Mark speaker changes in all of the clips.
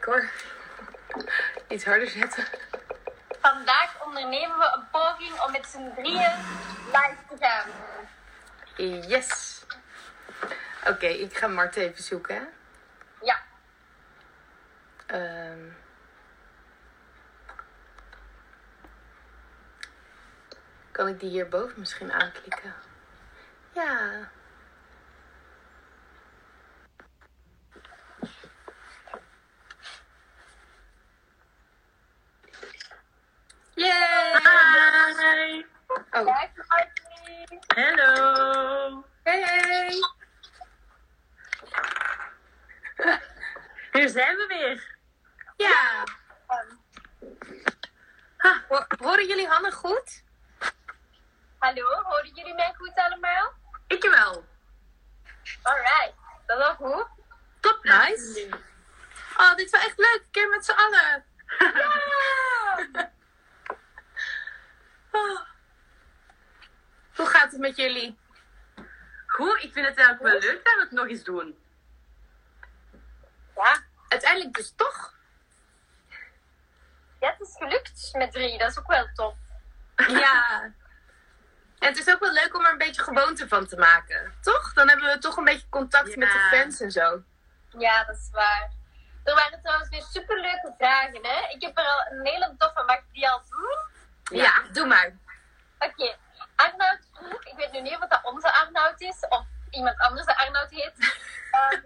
Speaker 1: hoor. Iets harder zetten.
Speaker 2: Vandaag ondernemen we een poging om met z'n drieën live te gaan.
Speaker 1: Yes. Oké, ik ga Mart even zoeken. hè.
Speaker 2: Ja.
Speaker 1: Ehm. kan ik die hierboven misschien aanklikken? Ja. Yay!
Speaker 3: Ah. Hi.
Speaker 1: Oh,
Speaker 2: Live uitzending.
Speaker 3: Hallo.
Speaker 1: hey!
Speaker 3: Hier zijn we weer.
Speaker 1: Ja!
Speaker 2: Ehm,
Speaker 1: Ho- Horen jullie Hanne goed?
Speaker 2: hallo, horen jullie mij goed allemaal?
Speaker 3: Ik wel.
Speaker 2: Alright, dat is wel goed.
Speaker 1: Top, nice. Oh, dit is wel echt leuk. Een keer met z'n allen.
Speaker 2: Ja!
Speaker 1: Oh. Hoe gaat het met jullie?
Speaker 3: Goed, ik vind het eigenlijk wel leuk dat we het nog eens doen.
Speaker 2: Ja,
Speaker 1: Uiteindelijk dus toch?
Speaker 2: ja, het is gelukt met drie, dat is ook wel tof.
Speaker 1: Ja. En het is ook wel leuk om er een beetje gewoonte van te maken. Toch? Dan hebben we toch een beetje contact
Speaker 3: Ja.
Speaker 1: met de fans en zo.
Speaker 2: Ja, dat is waar. Er waren trouwens weer superleuke vragen, hè? Ik heb er al een hele toffe, mag ik die al doen?
Speaker 1: Ja, doe maar.
Speaker 2: Oké, Arnoud vroeg, ik weet nu niet of dat onze Arnoud is of iemand anders de Arnoud heet. Ehm,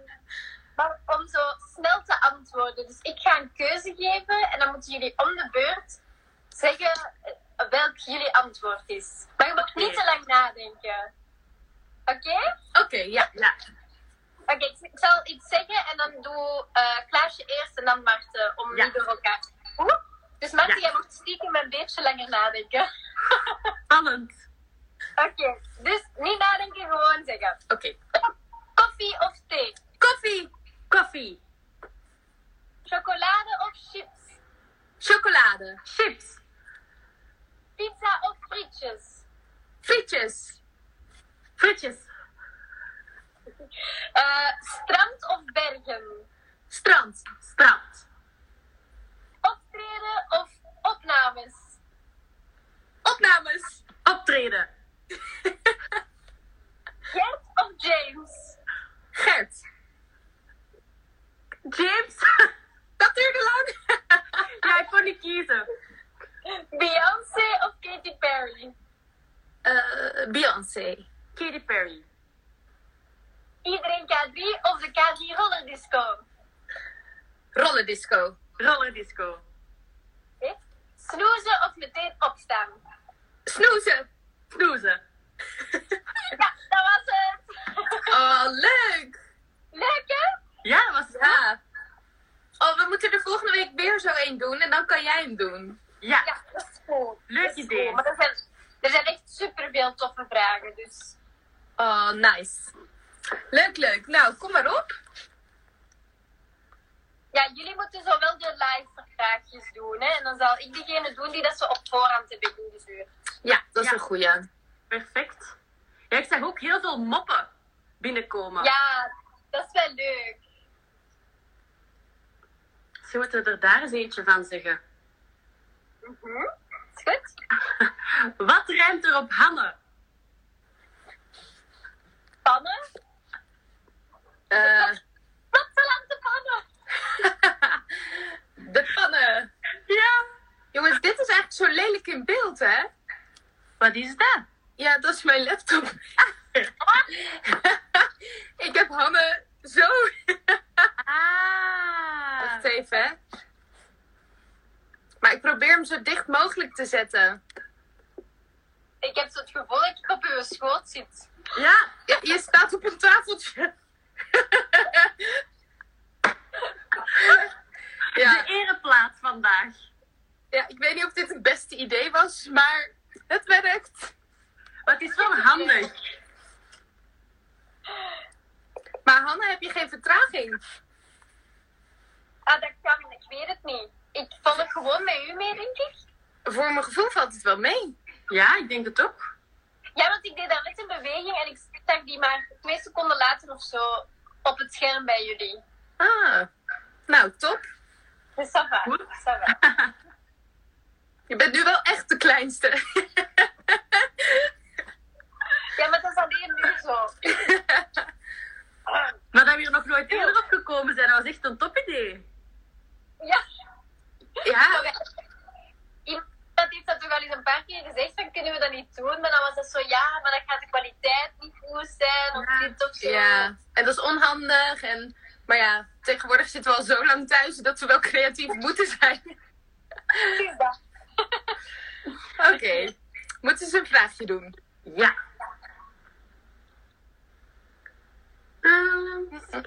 Speaker 2: maar om zo snel te antwoorden. Dus ik ga een keuze geven en dan moeten jullie om de beurt zeggen eh, welk jullie antwoord is. Maar je mag niet te lang nadenken. Oké?
Speaker 1: Oké, ja.
Speaker 3: Ja.
Speaker 2: Oké, ik, ik zal iets zeggen en dan doe eh, Klaasje eerst en dan Marten, om
Speaker 3: Ja.
Speaker 2: niet door elkaar. Oeh. Dus Marten,
Speaker 3: Ja.
Speaker 2: jij mag stiekem een beetje langer nadenken.
Speaker 3: Spannend.
Speaker 2: Oké, dus niet nadenken, gewoon zeggen.
Speaker 1: Oké.
Speaker 2: Koffie of thee?
Speaker 1: Koffie,
Speaker 3: Koffie.
Speaker 2: Chocolade of chips?
Speaker 1: chocolade,
Speaker 3: Chips.
Speaker 2: Pizza of frietjes?
Speaker 1: frietjes,
Speaker 3: Frietjes.
Speaker 2: Eh, strand of bergen?
Speaker 1: strand,
Speaker 3: Strand.
Speaker 2: Optreden of opnames?
Speaker 1: opnames,
Speaker 3: Optreden.
Speaker 2: Gert of James?
Speaker 1: Gert.
Speaker 3: James.
Speaker 1: Dat duurde lang.
Speaker 3: ja, ik kon niet kiezen.
Speaker 2: Beyoncé of Katy Perry?
Speaker 1: Eh, Beyoncé.
Speaker 3: Katy Perry.
Speaker 2: Iedereen K3 of de K3 Roller Disco?
Speaker 1: Rollerdisco.
Speaker 3: Roller disco.
Speaker 2: Eh? Snoezen of meteen opstaan?
Speaker 1: Snoezen.
Speaker 3: Snoezen.
Speaker 2: Ja, dat was het!
Speaker 1: Oh, leuk.
Speaker 2: Leuk hè?
Speaker 3: Ja, dat was het. goed?
Speaker 1: Ja. Oh, we moeten er volgende week weer zo één doen en dan kan jij hem doen.
Speaker 3: Ja.
Speaker 2: Ja, dat is cool.
Speaker 3: Leuk
Speaker 2: Dat is
Speaker 3: idee.
Speaker 2: cool, Maar er zijn, er zijn echt superveel toffe vragen, dus...
Speaker 1: Oh, nice. Leuk, leuk. Nou, kom maar op.
Speaker 2: Ja, jullie moeten zo wel de live vraagjes doen, hè? En dan zal ik diegene doen die dat ze op voorhand hebben ingestuurd.
Speaker 1: Ja, dat is
Speaker 3: Ja.
Speaker 1: een goeie.
Speaker 3: Perfect. Ja, ik zag ook heel veel moppen binnenkomen.
Speaker 2: Ja, dat is wel leuk.
Speaker 3: Ze moeten er daar eens eentje van zeggen.
Speaker 2: Mhm. Is goed?
Speaker 3: Wat ruimt er op Hanne?
Speaker 2: Pannen?
Speaker 1: Eh,
Speaker 2: Wat zal aan de pannen?
Speaker 1: de pannen.
Speaker 3: Ja.
Speaker 1: Jongens, dit is echt zo lelijk in beeld, hè?
Speaker 3: Wat is dat?
Speaker 1: Ja, dat is mijn laptop. Ik heb Hanne zo...
Speaker 3: Ah.
Speaker 1: Wacht even, hè. Maar ik probeer hem zo dicht mogelijk te zetten.
Speaker 2: Ik heb zo het gevoel dat ik op uw schoot zit.
Speaker 3: Ja.
Speaker 1: Je, je staat op een tafeltje. ja,
Speaker 3: De ereplaats vandaag.
Speaker 1: ja, ik weet niet of dit het beste idee was, maar het werkt.
Speaker 3: Maar het is wel handig.
Speaker 1: Maar Hanna, heb je geen vertraging?
Speaker 2: Ah, dat kan, ik weet het niet. Ik volg gewoon met u mee, denk ik.
Speaker 1: Voor mijn gevoel valt het wel mee.
Speaker 3: Ja, ik denk het ook.
Speaker 2: Ja, want ik deed daar net een beweging en ik zag die maar twee seconden later of zo op het scherm bij jullie.
Speaker 1: Ah, nou top.
Speaker 2: Dus ça va,
Speaker 3: Goed.
Speaker 2: ça va.
Speaker 1: Je bent nu wel echt de kleinste.
Speaker 2: Ja, maar dat is alleen nu zo. Ah,
Speaker 3: Maar dat we hier nog nooit eerder op gekomen zijn, dat was echt een topidee.
Speaker 2: Ja,
Speaker 1: ja,
Speaker 2: iemand heeft dat toch al eens een paar keer gezegd, van kunnen we dat niet doen? Maar dan was dat zo, ja, maar dan gaat de kwaliteit niet goed zijn, of dit of zo.
Speaker 1: ja. En dat is onhandig. En, maar ja, tegenwoordig zitten we al zo lang thuis dat we wel creatief moeten zijn.
Speaker 2: Precies dat.
Speaker 1: Oké, moeten ze een vraagje doen?
Speaker 3: Ja. Ehm,
Speaker 1: Mm. Even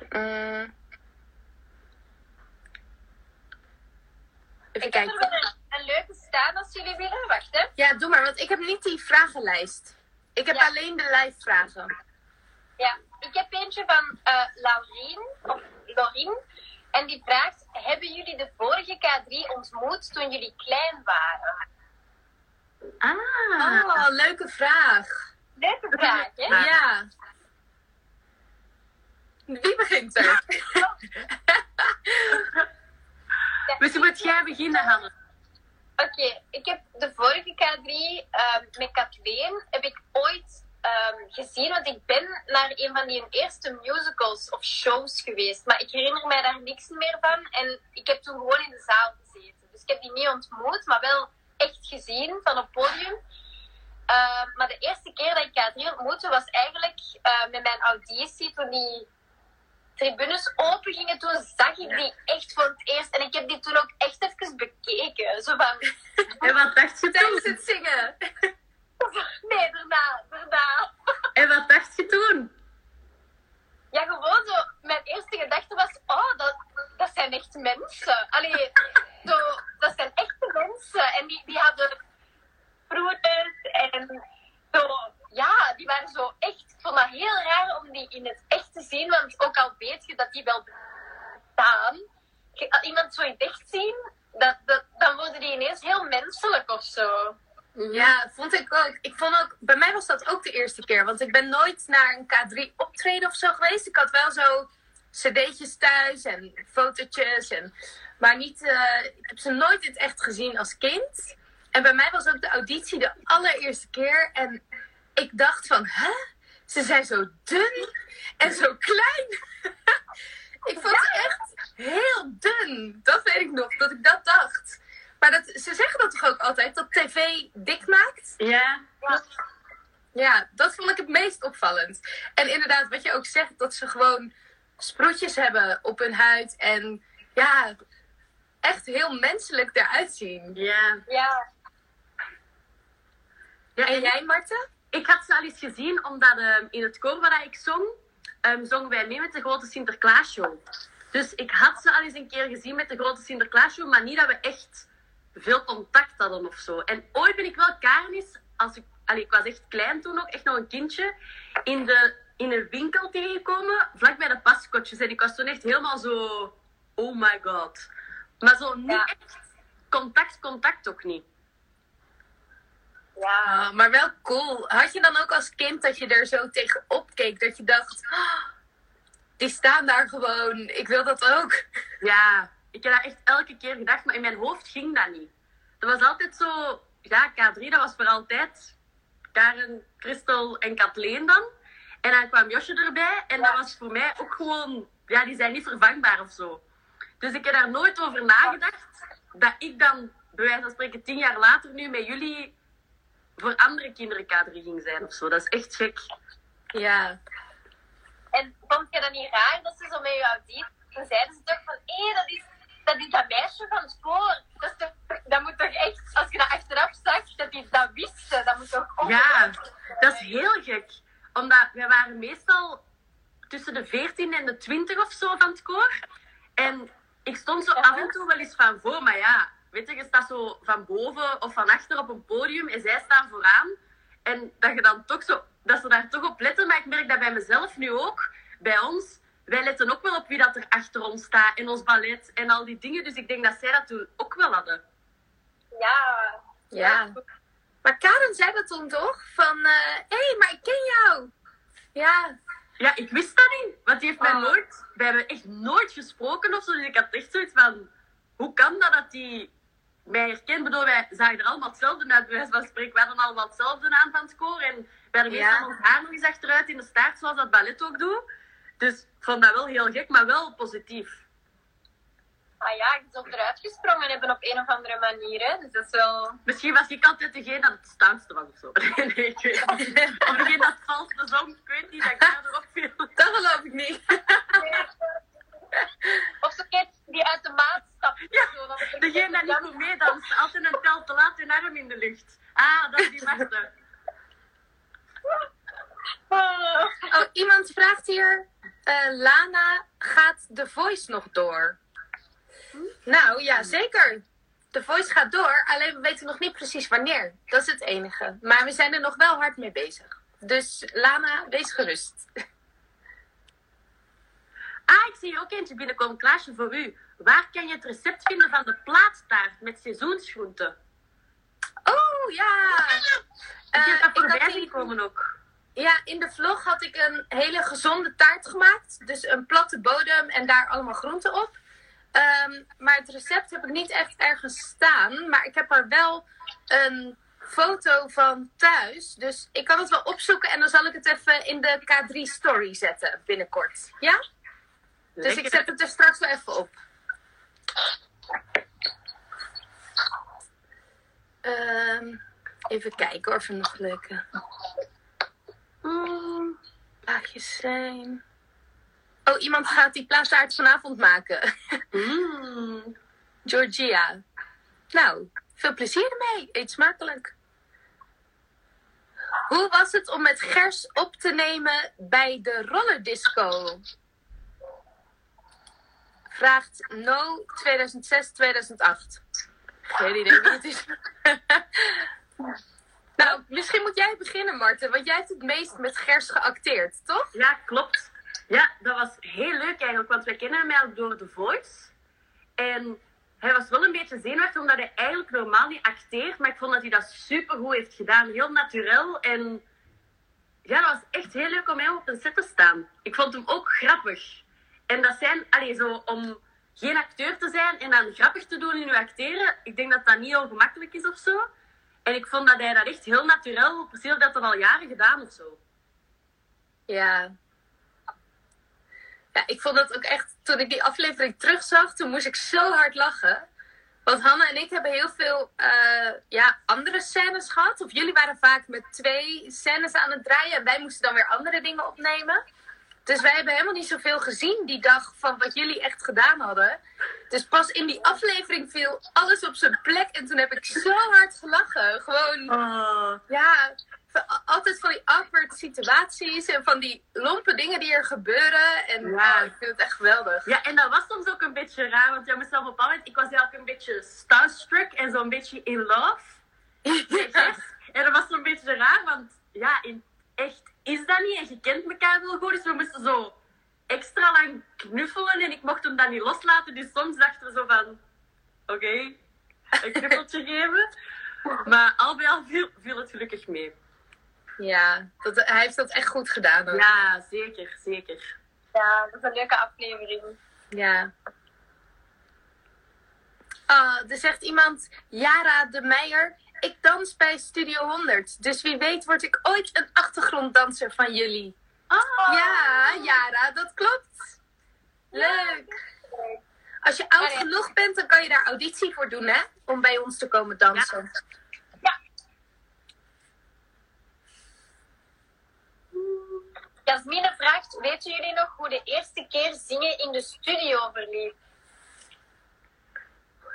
Speaker 2: Ik heb er
Speaker 1: kijken.
Speaker 2: wel een, een leuke staan als jullie willen. Wacht, hè.
Speaker 1: Ja, doe maar, want ik heb niet die vragenlijst. Ik heb
Speaker 2: Ja.
Speaker 1: alleen de live vragen.
Speaker 2: Ja, ik heb eentje van eh Laurien, of Laurien. En die vraagt, hebben jullie de vorige K3 ontmoet toen jullie klein waren?
Speaker 3: ah.
Speaker 1: Oh, leuke vraag.
Speaker 2: Leuke vraag, hè?
Speaker 1: Ah,
Speaker 3: Ja.
Speaker 1: Ja. Wie begint er?
Speaker 3: Misschien moet jij beginnen, Hanne.
Speaker 2: Oké, ik heb de vorige K3 ehm, met Kathleen heb ik ooit ehm, gezien, want ik ben naar een van die eerste musicals of shows geweest. Maar ik herinner mij daar niks meer van en ik heb toen gewoon in de zaal gezeten. Dus ik heb die niet ontmoet, maar wel echt gezien van op podium. Ehm, maar de eerste keer dat ik K3 ontmoette was eigenlijk eh, met mijn auditie toen die tribunes open gingen, toen zag ik die echt voor het eerst. En ik heb die toen ook echt even bekeken. Zo van,
Speaker 3: En wat dacht je
Speaker 1: Tijdens
Speaker 3: toen?
Speaker 1: het zingen.
Speaker 2: nee, daarna, daarna.
Speaker 3: En wat dacht je toen?
Speaker 2: Ja, gewoon zo, mijn eerste gedachte was, oh, dat, dat zijn echt mensen. Allee, zo, dat zijn echte mensen. En die, die hadden broeders en zo, ja, die waren zo echt, ik vond dat heel raar om die in het echt te zien, want ook al weet je dat die wel bestaan, je- als iemand zo in het echt zien, dat, dat, dan worden die ineens heel menselijk of zo.
Speaker 1: Ja, vond ik ook. Ik vond ook. Bij mij was dat ook de eerste keer. Want ik ben nooit naar een K3 optreden of zo geweest. Ik had wel zo cd'tjes thuis en fotootjes. En, maar niet, eh, ik heb ze nooit in het echt gezien als kind. En bij mij was ook de auditie de allereerste keer. En ik dacht van, hè? Ze zijn zo dun en zo klein. ik vond ze echt heel dun. Dat weet ik nog, dat ik dat dacht. Maar dat, ze zeggen dat toch ook altijd, dat tv dik maakt?
Speaker 3: Ja.
Speaker 1: Ja, dat vond ik het meest opvallend. En inderdaad, wat je ook zegt, dat ze gewoon sproetjes hebben op hun huid. En ja, echt heel menselijk eruit zien.
Speaker 3: Ja.
Speaker 2: Ja,
Speaker 3: ja
Speaker 1: En
Speaker 3: en
Speaker 1: jij, Marten?
Speaker 3: Ik had ze al eens gezien, omdat ehm, in het koor waar ik zong, ehm, zongen wij mee met de grote Sinterklaasshow. Dus ik had ze al eens een keer gezien met de grote Sinterklaasshow, maar niet dat we echt veel contact hadden of zo. En ooit ben ik wel Karen eens, als ik, allee, ik was echt klein toen ook, echt nog een kindje, in, de, in een winkel tegengekomen, vlakbij de paskotjes. En ik was toen echt helemaal zo, oh my god. Maar zo niet
Speaker 2: Ja.
Speaker 3: echt contact, contact ook niet.
Speaker 2: ja.
Speaker 1: Ah, maar wel cool. Had je dan ook als kind dat je er zo tegen opkeek? Dat je dacht, "Ah, die staan daar gewoon. Ik wil dat ook.
Speaker 3: Ja, ik heb dat echt elke keer gedacht, maar in mijn hoofd ging dat niet. Dat was altijd zo, ja, K3, dat was voor altijd Karen, Christel en Kathleen dan. En dan kwam Josje erbij en dat was voor mij ook gewoon, ja, die zijn niet vervangbaar of zo. Dus ik heb daar nooit over nagedacht dat ik dan, bij wijze van spreken, tien jaar later nu met jullie voor andere kinderen K3 ging zijn of zo. Dat is echt gek.
Speaker 1: Ja.
Speaker 2: En vond je dat niet raar dat ze zo met je auditie toen zeiden ze toch van hé, dat, is, dat is dat meisje van het koor. Dat, is toch, dat moet toch echt, als je dat achteraf zag, dat die dat wisten, dat moet toch ook.
Speaker 3: Ja, dat is heel gek. Omdat wij waren meestal tussen de 14 en de 20 of zo van het koor. En ik stond zo
Speaker 2: Ja.
Speaker 3: af en toe wel eens van voor, maar ja, weet je, je staat zo van boven of van achter op een podium en zij staan vooraan. En dat je dan toch zo, dat ze daar toch op letten, maar ik merk dat bij mezelf nu ook, bij ons, wij letten ook wel op wie dat er achter ons staat in ons ballet en al die dingen. Dus ik denk dat zij dat toen ook wel hadden.
Speaker 2: Ja.
Speaker 1: Ja. Maar Karen zei dat toen toch? Van, eh, hé, hey, maar ik ken jou. Ja.
Speaker 3: Ja, ik wist dat niet. Want die heeft mij
Speaker 1: Oh.
Speaker 3: nooit... We hebben echt nooit gesproken of zo. Dus ik had echt zoiets van... hoe kan dat dat die mij herkent? Ik bedoel, wij zagen er allemaal hetzelfde uit, bij wijze van spreken. We hadden allemaal hetzelfde aan van het koor. En we hadden
Speaker 1: Ja.
Speaker 3: meestal ons haar nog eens achteruit in de staart, zoals dat ballet ook doet. Dus ik vond dat wel heel gek, maar wel positief.
Speaker 2: Ah ja, ik zou eruit gesprongen hebben op een of andere manier. Hè. Dus dat is wel...
Speaker 3: Misschien was ik altijd degene dat het staanste was of zo. Nee, ik weet het niet. Of degene dat het valste zong, ik weet niet, dat ik daar erop viel.
Speaker 1: Dat geloof ik niet.
Speaker 2: Of zo'n kind die uit de maat stapt. of
Speaker 3: Ja,
Speaker 2: zo, want ik-
Speaker 3: Degene dat niet goed meedanst, altijd een tel te laat, hun arm in de lucht. Ah, dat is die beste.
Speaker 2: Ah.
Speaker 1: Oh, iemand vraagt hier: eh, Lana, gaat de voice nog door? Nou ja, zeker. De voice gaat door, alleen we weten nog niet precies wanneer. Dat is het enige. Maar we zijn er nog wel hard mee bezig. Dus Lana, wees gerust.
Speaker 3: Ah, ik zie hier ook eentje binnenkomen, Klaasje, voor u. Waar kan je het recept vinden van de plaatstaart met seizoensgroenten?
Speaker 1: Oh ja!
Speaker 3: Ik
Speaker 1: Eh,
Speaker 3: heb dat
Speaker 1: ik had
Speaker 3: voorbij
Speaker 1: die-
Speaker 3: zien komen ook.
Speaker 1: Ja, in de vlog had ik een hele gezonde taart gemaakt. Dus een platte bodem en daar allemaal groenten op. Ehm, maar het recept heb ik niet echt ergens staan. Maar ik heb er wel een foto van thuis. Dus ik kan het wel opzoeken en dan zal ik het even in de K3 story zetten binnenkort. Ja? Dus ik
Speaker 3: Lekker.
Speaker 1: zet het er straks wel even op. Ehm, even kijken hoor, of er nog leuke
Speaker 3: Mm,
Speaker 1: plaatjes zijn. Oh, iemand gaat die plaatsaard vanavond maken.
Speaker 3: mm.
Speaker 1: Georgia. Nou, veel plezier ermee. Eet smakelijk. Hoe was het om met Gers op te nemen bij de rollerdisco? Vraagt No 2006-2008. Geen idee wie het is. nou, misschien moet jij beginnen, Marten, want jij hebt het meest met Gers geacteerd, toch?
Speaker 3: Ja, klopt. Ja, dat was heel leuk eigenlijk, want wij kennen hem eigenlijk door The Voice. En hij was wel een beetje zenuwachtig, omdat hij eigenlijk normaal niet acteert. Maar ik vond dat hij dat supergoed heeft gedaan. Heel natuurlijk. En ja, dat was echt heel leuk om hem op een set te staan. Ik vond hem ook grappig. En dat zijn, allee, zo om geen acteur te zijn en dan grappig te doen in uw acteren. Ik denk dat dat niet heel gemakkelijk is of zo. En ik vond dat hij dat echt heel natuurlijk, precies of dat dat al jaren gedaan of zo.
Speaker 1: Ja. Ja, ik vond dat ook echt, toen ik die aflevering terugzag, toen moest ik zo hard lachen. Want Hanna en ik hebben heel veel eh, ja, andere scènes gehad. Of jullie waren vaak met twee scènes aan het draaien en wij moesten dan weer andere dingen opnemen. Dus wij hebben helemaal niet zoveel gezien die dag van wat jullie echt gedaan hadden. Dus pas in die aflevering viel alles op zijn plek en toen heb ik zo hard gelachen. Gewoon
Speaker 3: Oh.
Speaker 1: ja, van- a- altijd van die awkward situaties en van die lompe dingen die er gebeuren. En
Speaker 3: Ja.
Speaker 1: ah, ik vind het echt geweldig.
Speaker 3: Ja, en dat was soms ook een beetje raar, want jij moest zelf op moment, ik was eigenlijk een beetje starstruck en zo'n beetje in love. met Jess. En dat was zo'n beetje raar, want ja, in, echt is dat niet en je kent elkaar wel goed, dus we moesten zo extra lang knuffelen en ik mocht hem dan niet loslaten, dus soms dachten we zo van, oké, een knuffeltje geven. Maar al bij al viel, viel het gelukkig mee.
Speaker 1: Ja, dat, hij heeft dat echt goed gedaan. Ook.
Speaker 3: Ja, zeker, zeker.
Speaker 2: Ja, dat is een leuke aflevering.
Speaker 1: Ja. Ah, er zegt iemand, Jara de Meijer, ik dans bij Studio 100. Dus wie weet word ik ooit een achtergronddanser van jullie.
Speaker 3: Oh,
Speaker 1: Ja, Jara, dat klopt. Leuk. Als je oud
Speaker 2: Allee.
Speaker 1: genoeg bent, dan kan je daar auditie voor doen, hè? Om bij ons te komen dansen.
Speaker 2: Jasmine vraagt, weten jullie nog hoe de eerste keer zingen in de studio verliep?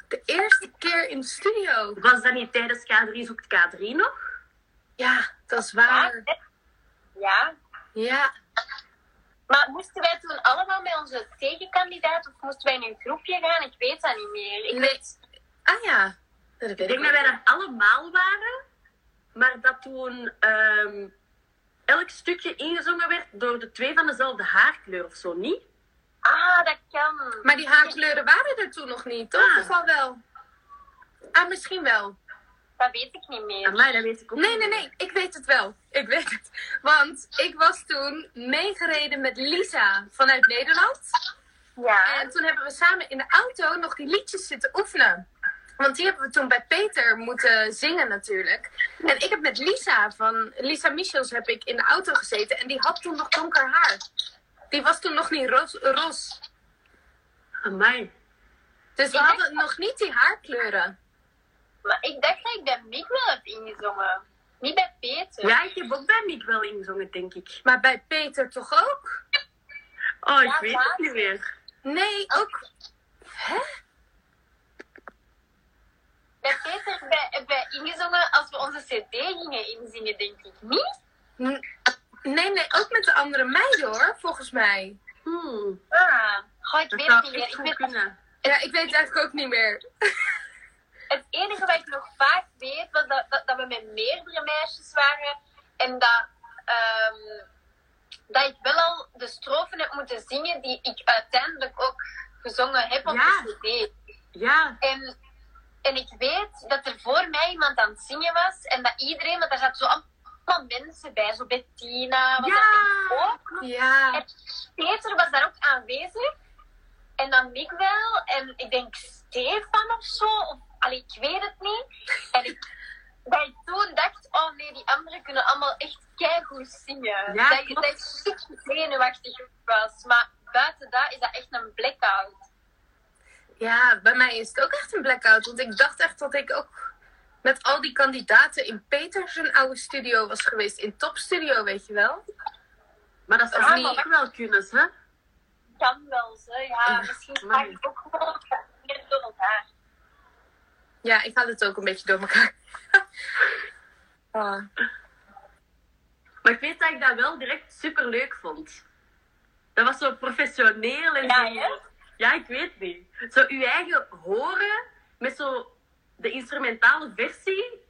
Speaker 1: De eerste keer in de studio.
Speaker 3: Was dat niet tijdens K3 zoekt K3 nog?
Speaker 1: Ja, dat is
Speaker 3: Ah.
Speaker 1: waar.
Speaker 2: Ah, Ja.
Speaker 1: Ja.
Speaker 2: Maar moesten wij toen allemaal bij onze tegenkandidaat of moesten wij in een groepje gaan? Ik weet dat niet meer. Ik
Speaker 1: Nee.
Speaker 2: weet...
Speaker 1: Ah ja. Dat
Speaker 3: Ik
Speaker 1: weet ik
Speaker 3: denk
Speaker 1: niet.
Speaker 3: dat wij daar allemaal waren, maar dat toen ehm, elk stukje ingezongen werd door de twee van dezelfde haarkleur of zo, niet?
Speaker 2: Ah, dat kan.
Speaker 1: Maar die haarkleuren waren er toen nog niet, toch?
Speaker 3: Ah.
Speaker 1: Of al wel? Ah, misschien wel.
Speaker 2: Dat weet ik niet meer.
Speaker 3: Amai, dat weet ik ook
Speaker 1: Nee, nee,
Speaker 3: niet.
Speaker 1: nee. Ik weet het wel. Ik weet het. Want ik was toen meegereden met Lisa vanuit Nederland.
Speaker 2: Ja.
Speaker 1: En toen hebben we samen in de auto nog die liedjes zitten oefenen. Want die hebben we toen bij Peter moeten zingen natuurlijk. En ik heb met Lisa van Lisa Michels heb ik in de auto gezeten. En die had toen nog donker haar. Die was toen nog niet roos. roos.
Speaker 3: Amai.
Speaker 1: Dus we
Speaker 2: Ik denk
Speaker 1: hadden nog niet die haarkleuren.
Speaker 2: Maar ik dacht dat ik bij Mick wel heb ingezongen. Niet bij Peter.
Speaker 3: Ja, ik heb ook bij Mick wel ingezongen, denk ik.
Speaker 1: Maar bij Peter toch ook?
Speaker 3: Oh, ik
Speaker 2: Ja,
Speaker 3: weet
Speaker 2: waar?
Speaker 3: het niet meer.
Speaker 1: Nee, ook. Hè?
Speaker 2: Bij Peter hebben wij ingezongen als we onze cd gingen inzingen, denk ik. Niet?
Speaker 1: N- Nee, nee, ook met de andere meiden hoor, volgens mij.
Speaker 3: Hmm,
Speaker 2: Ah. Goh, ik
Speaker 3: dat
Speaker 2: weet het
Speaker 3: zou
Speaker 2: niet meer.
Speaker 3: echt
Speaker 2: Ik
Speaker 3: goed
Speaker 2: weet,
Speaker 3: kunnen.
Speaker 1: Ja, ik weet het eigenlijk ook niet meer.
Speaker 2: het enige wat ik nog vaak weet, was dat, dat, dat we met meerdere meisjes waren. En dat, ehm, dat ik wel al de strofen heb moeten zingen die ik uiteindelijk ook gezongen heb op
Speaker 3: Ja.
Speaker 2: de cd.
Speaker 3: Ja,
Speaker 2: En, en ik weet dat er voor mij iemand aan het zingen was. En dat iedereen, want daar zaten zo allemaal mensen bij. Zo Bettina, was
Speaker 3: Ja.
Speaker 2: daar ook.
Speaker 1: Ja,
Speaker 2: En Peter was daar ook aanwezig. En dan Mick wel. En ik denk Stefan of zo. Of, allee, ik weet het niet. En ik, dat ik toen dacht, oh nee, die anderen kunnen allemaal echt keigoed zingen.
Speaker 3: Ja,
Speaker 2: dat, je-
Speaker 3: klopt.
Speaker 2: dat ik super zenuwachtig was. Maar buiten dat is dat echt een blackout.
Speaker 1: ja, bij mij is het ook echt een blackout. Want ik dacht echt dat ik ook met al die kandidaten in Peter zijn oude studio was geweest. In topstudio, weet je wel.
Speaker 3: maar dat zou
Speaker 1: Of
Speaker 3: Mick
Speaker 1: niet.
Speaker 3: ook wel kunnen, hè?
Speaker 2: kan wel zo, ja. Misschien
Speaker 3: maar-
Speaker 2: ga ik ook gewoon meer door elkaar.
Speaker 1: Ja, ik haal het ook een beetje door elkaar. Ah.
Speaker 3: Maar ik weet dat ik dat wel direct super leuk vond. Dat was zo professioneel en
Speaker 2: Ja,
Speaker 3: zo.
Speaker 2: hè?
Speaker 3: Ja, ik weet niet. Zo uw eigen horen met zo de instrumentale versie.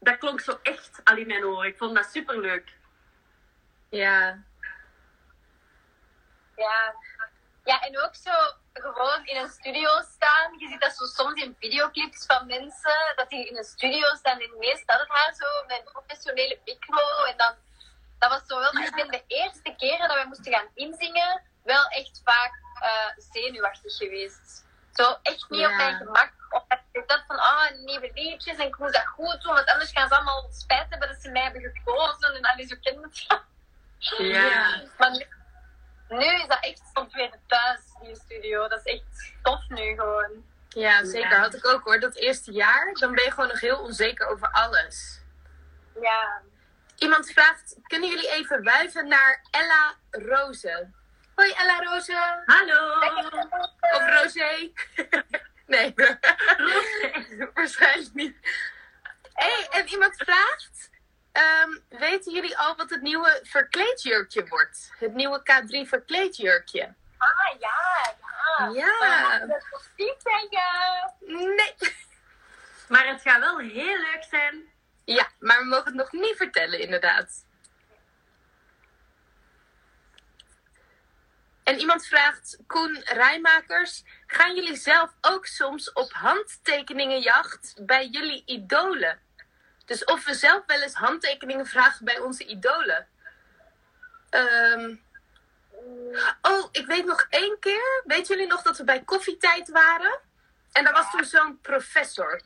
Speaker 3: Dat klonk zo echt al in mijn oren. Ik vond dat super leuk.
Speaker 1: Ja,
Speaker 2: Ja. ja, en ook zo gewoon in een studio staan. Je ziet dat zo soms in videoclips van mensen, dat die in een studio staan en ineens staat het haar zo met een professionele micro. En dan, dat was zo wel, maar ik ben de eerste keren dat wij moesten gaan inzingen, wel echt vaak eh, zenuwachtig geweest. Zo echt niet op
Speaker 1: Ja.
Speaker 2: mijn gemak. Of dat ik dacht van, ah, nieuwe liedjes en ik moet dat goed doen, want anders gaan ze allemaal spijt hebben dat ze mij hebben gekozen en alles zo kent het.
Speaker 1: Ja.
Speaker 2: Maar nu, nu is dat echt soms weer thuis in de studio. Dat is echt tof nu gewoon.
Speaker 1: ja zeker.
Speaker 3: Ja.
Speaker 1: Had ik ook hoor. Dat eerste jaar, dan ben je gewoon nog heel onzeker over alles.
Speaker 2: Ja.
Speaker 1: Iemand vraagt, kunnen jullie even wuiven naar Ella Roze? Hoi Ella Roze.
Speaker 3: Hallo!
Speaker 1: Ah.
Speaker 2: eh,
Speaker 1: Of Rosé. nee, waarschijnlijk niet. hey, en iemand vraagt, ehm, weten jullie al wat het nieuwe verkleedjurkje wordt? Het nieuwe K3 verkleedjurkje.
Speaker 2: Ah, ja, ja.
Speaker 1: Ja.
Speaker 2: Maar dat is toch niet zeggen.
Speaker 1: Nee.
Speaker 3: Maar het gaat wel heel leuk zijn.
Speaker 1: Ja, maar we mogen het nog niet vertellen, inderdaad. En iemand vraagt, Koen Rijmakers, gaan jullie zelf ook soms op handtekeningenjacht bij jullie idolen? Dus of we zelf wel eens handtekeningen vragen bij onze idolen? Ehm, oh, ik weet nog één keer. Weten jullie nog dat we bij koffietijd waren? En daar was toen zo'n professor.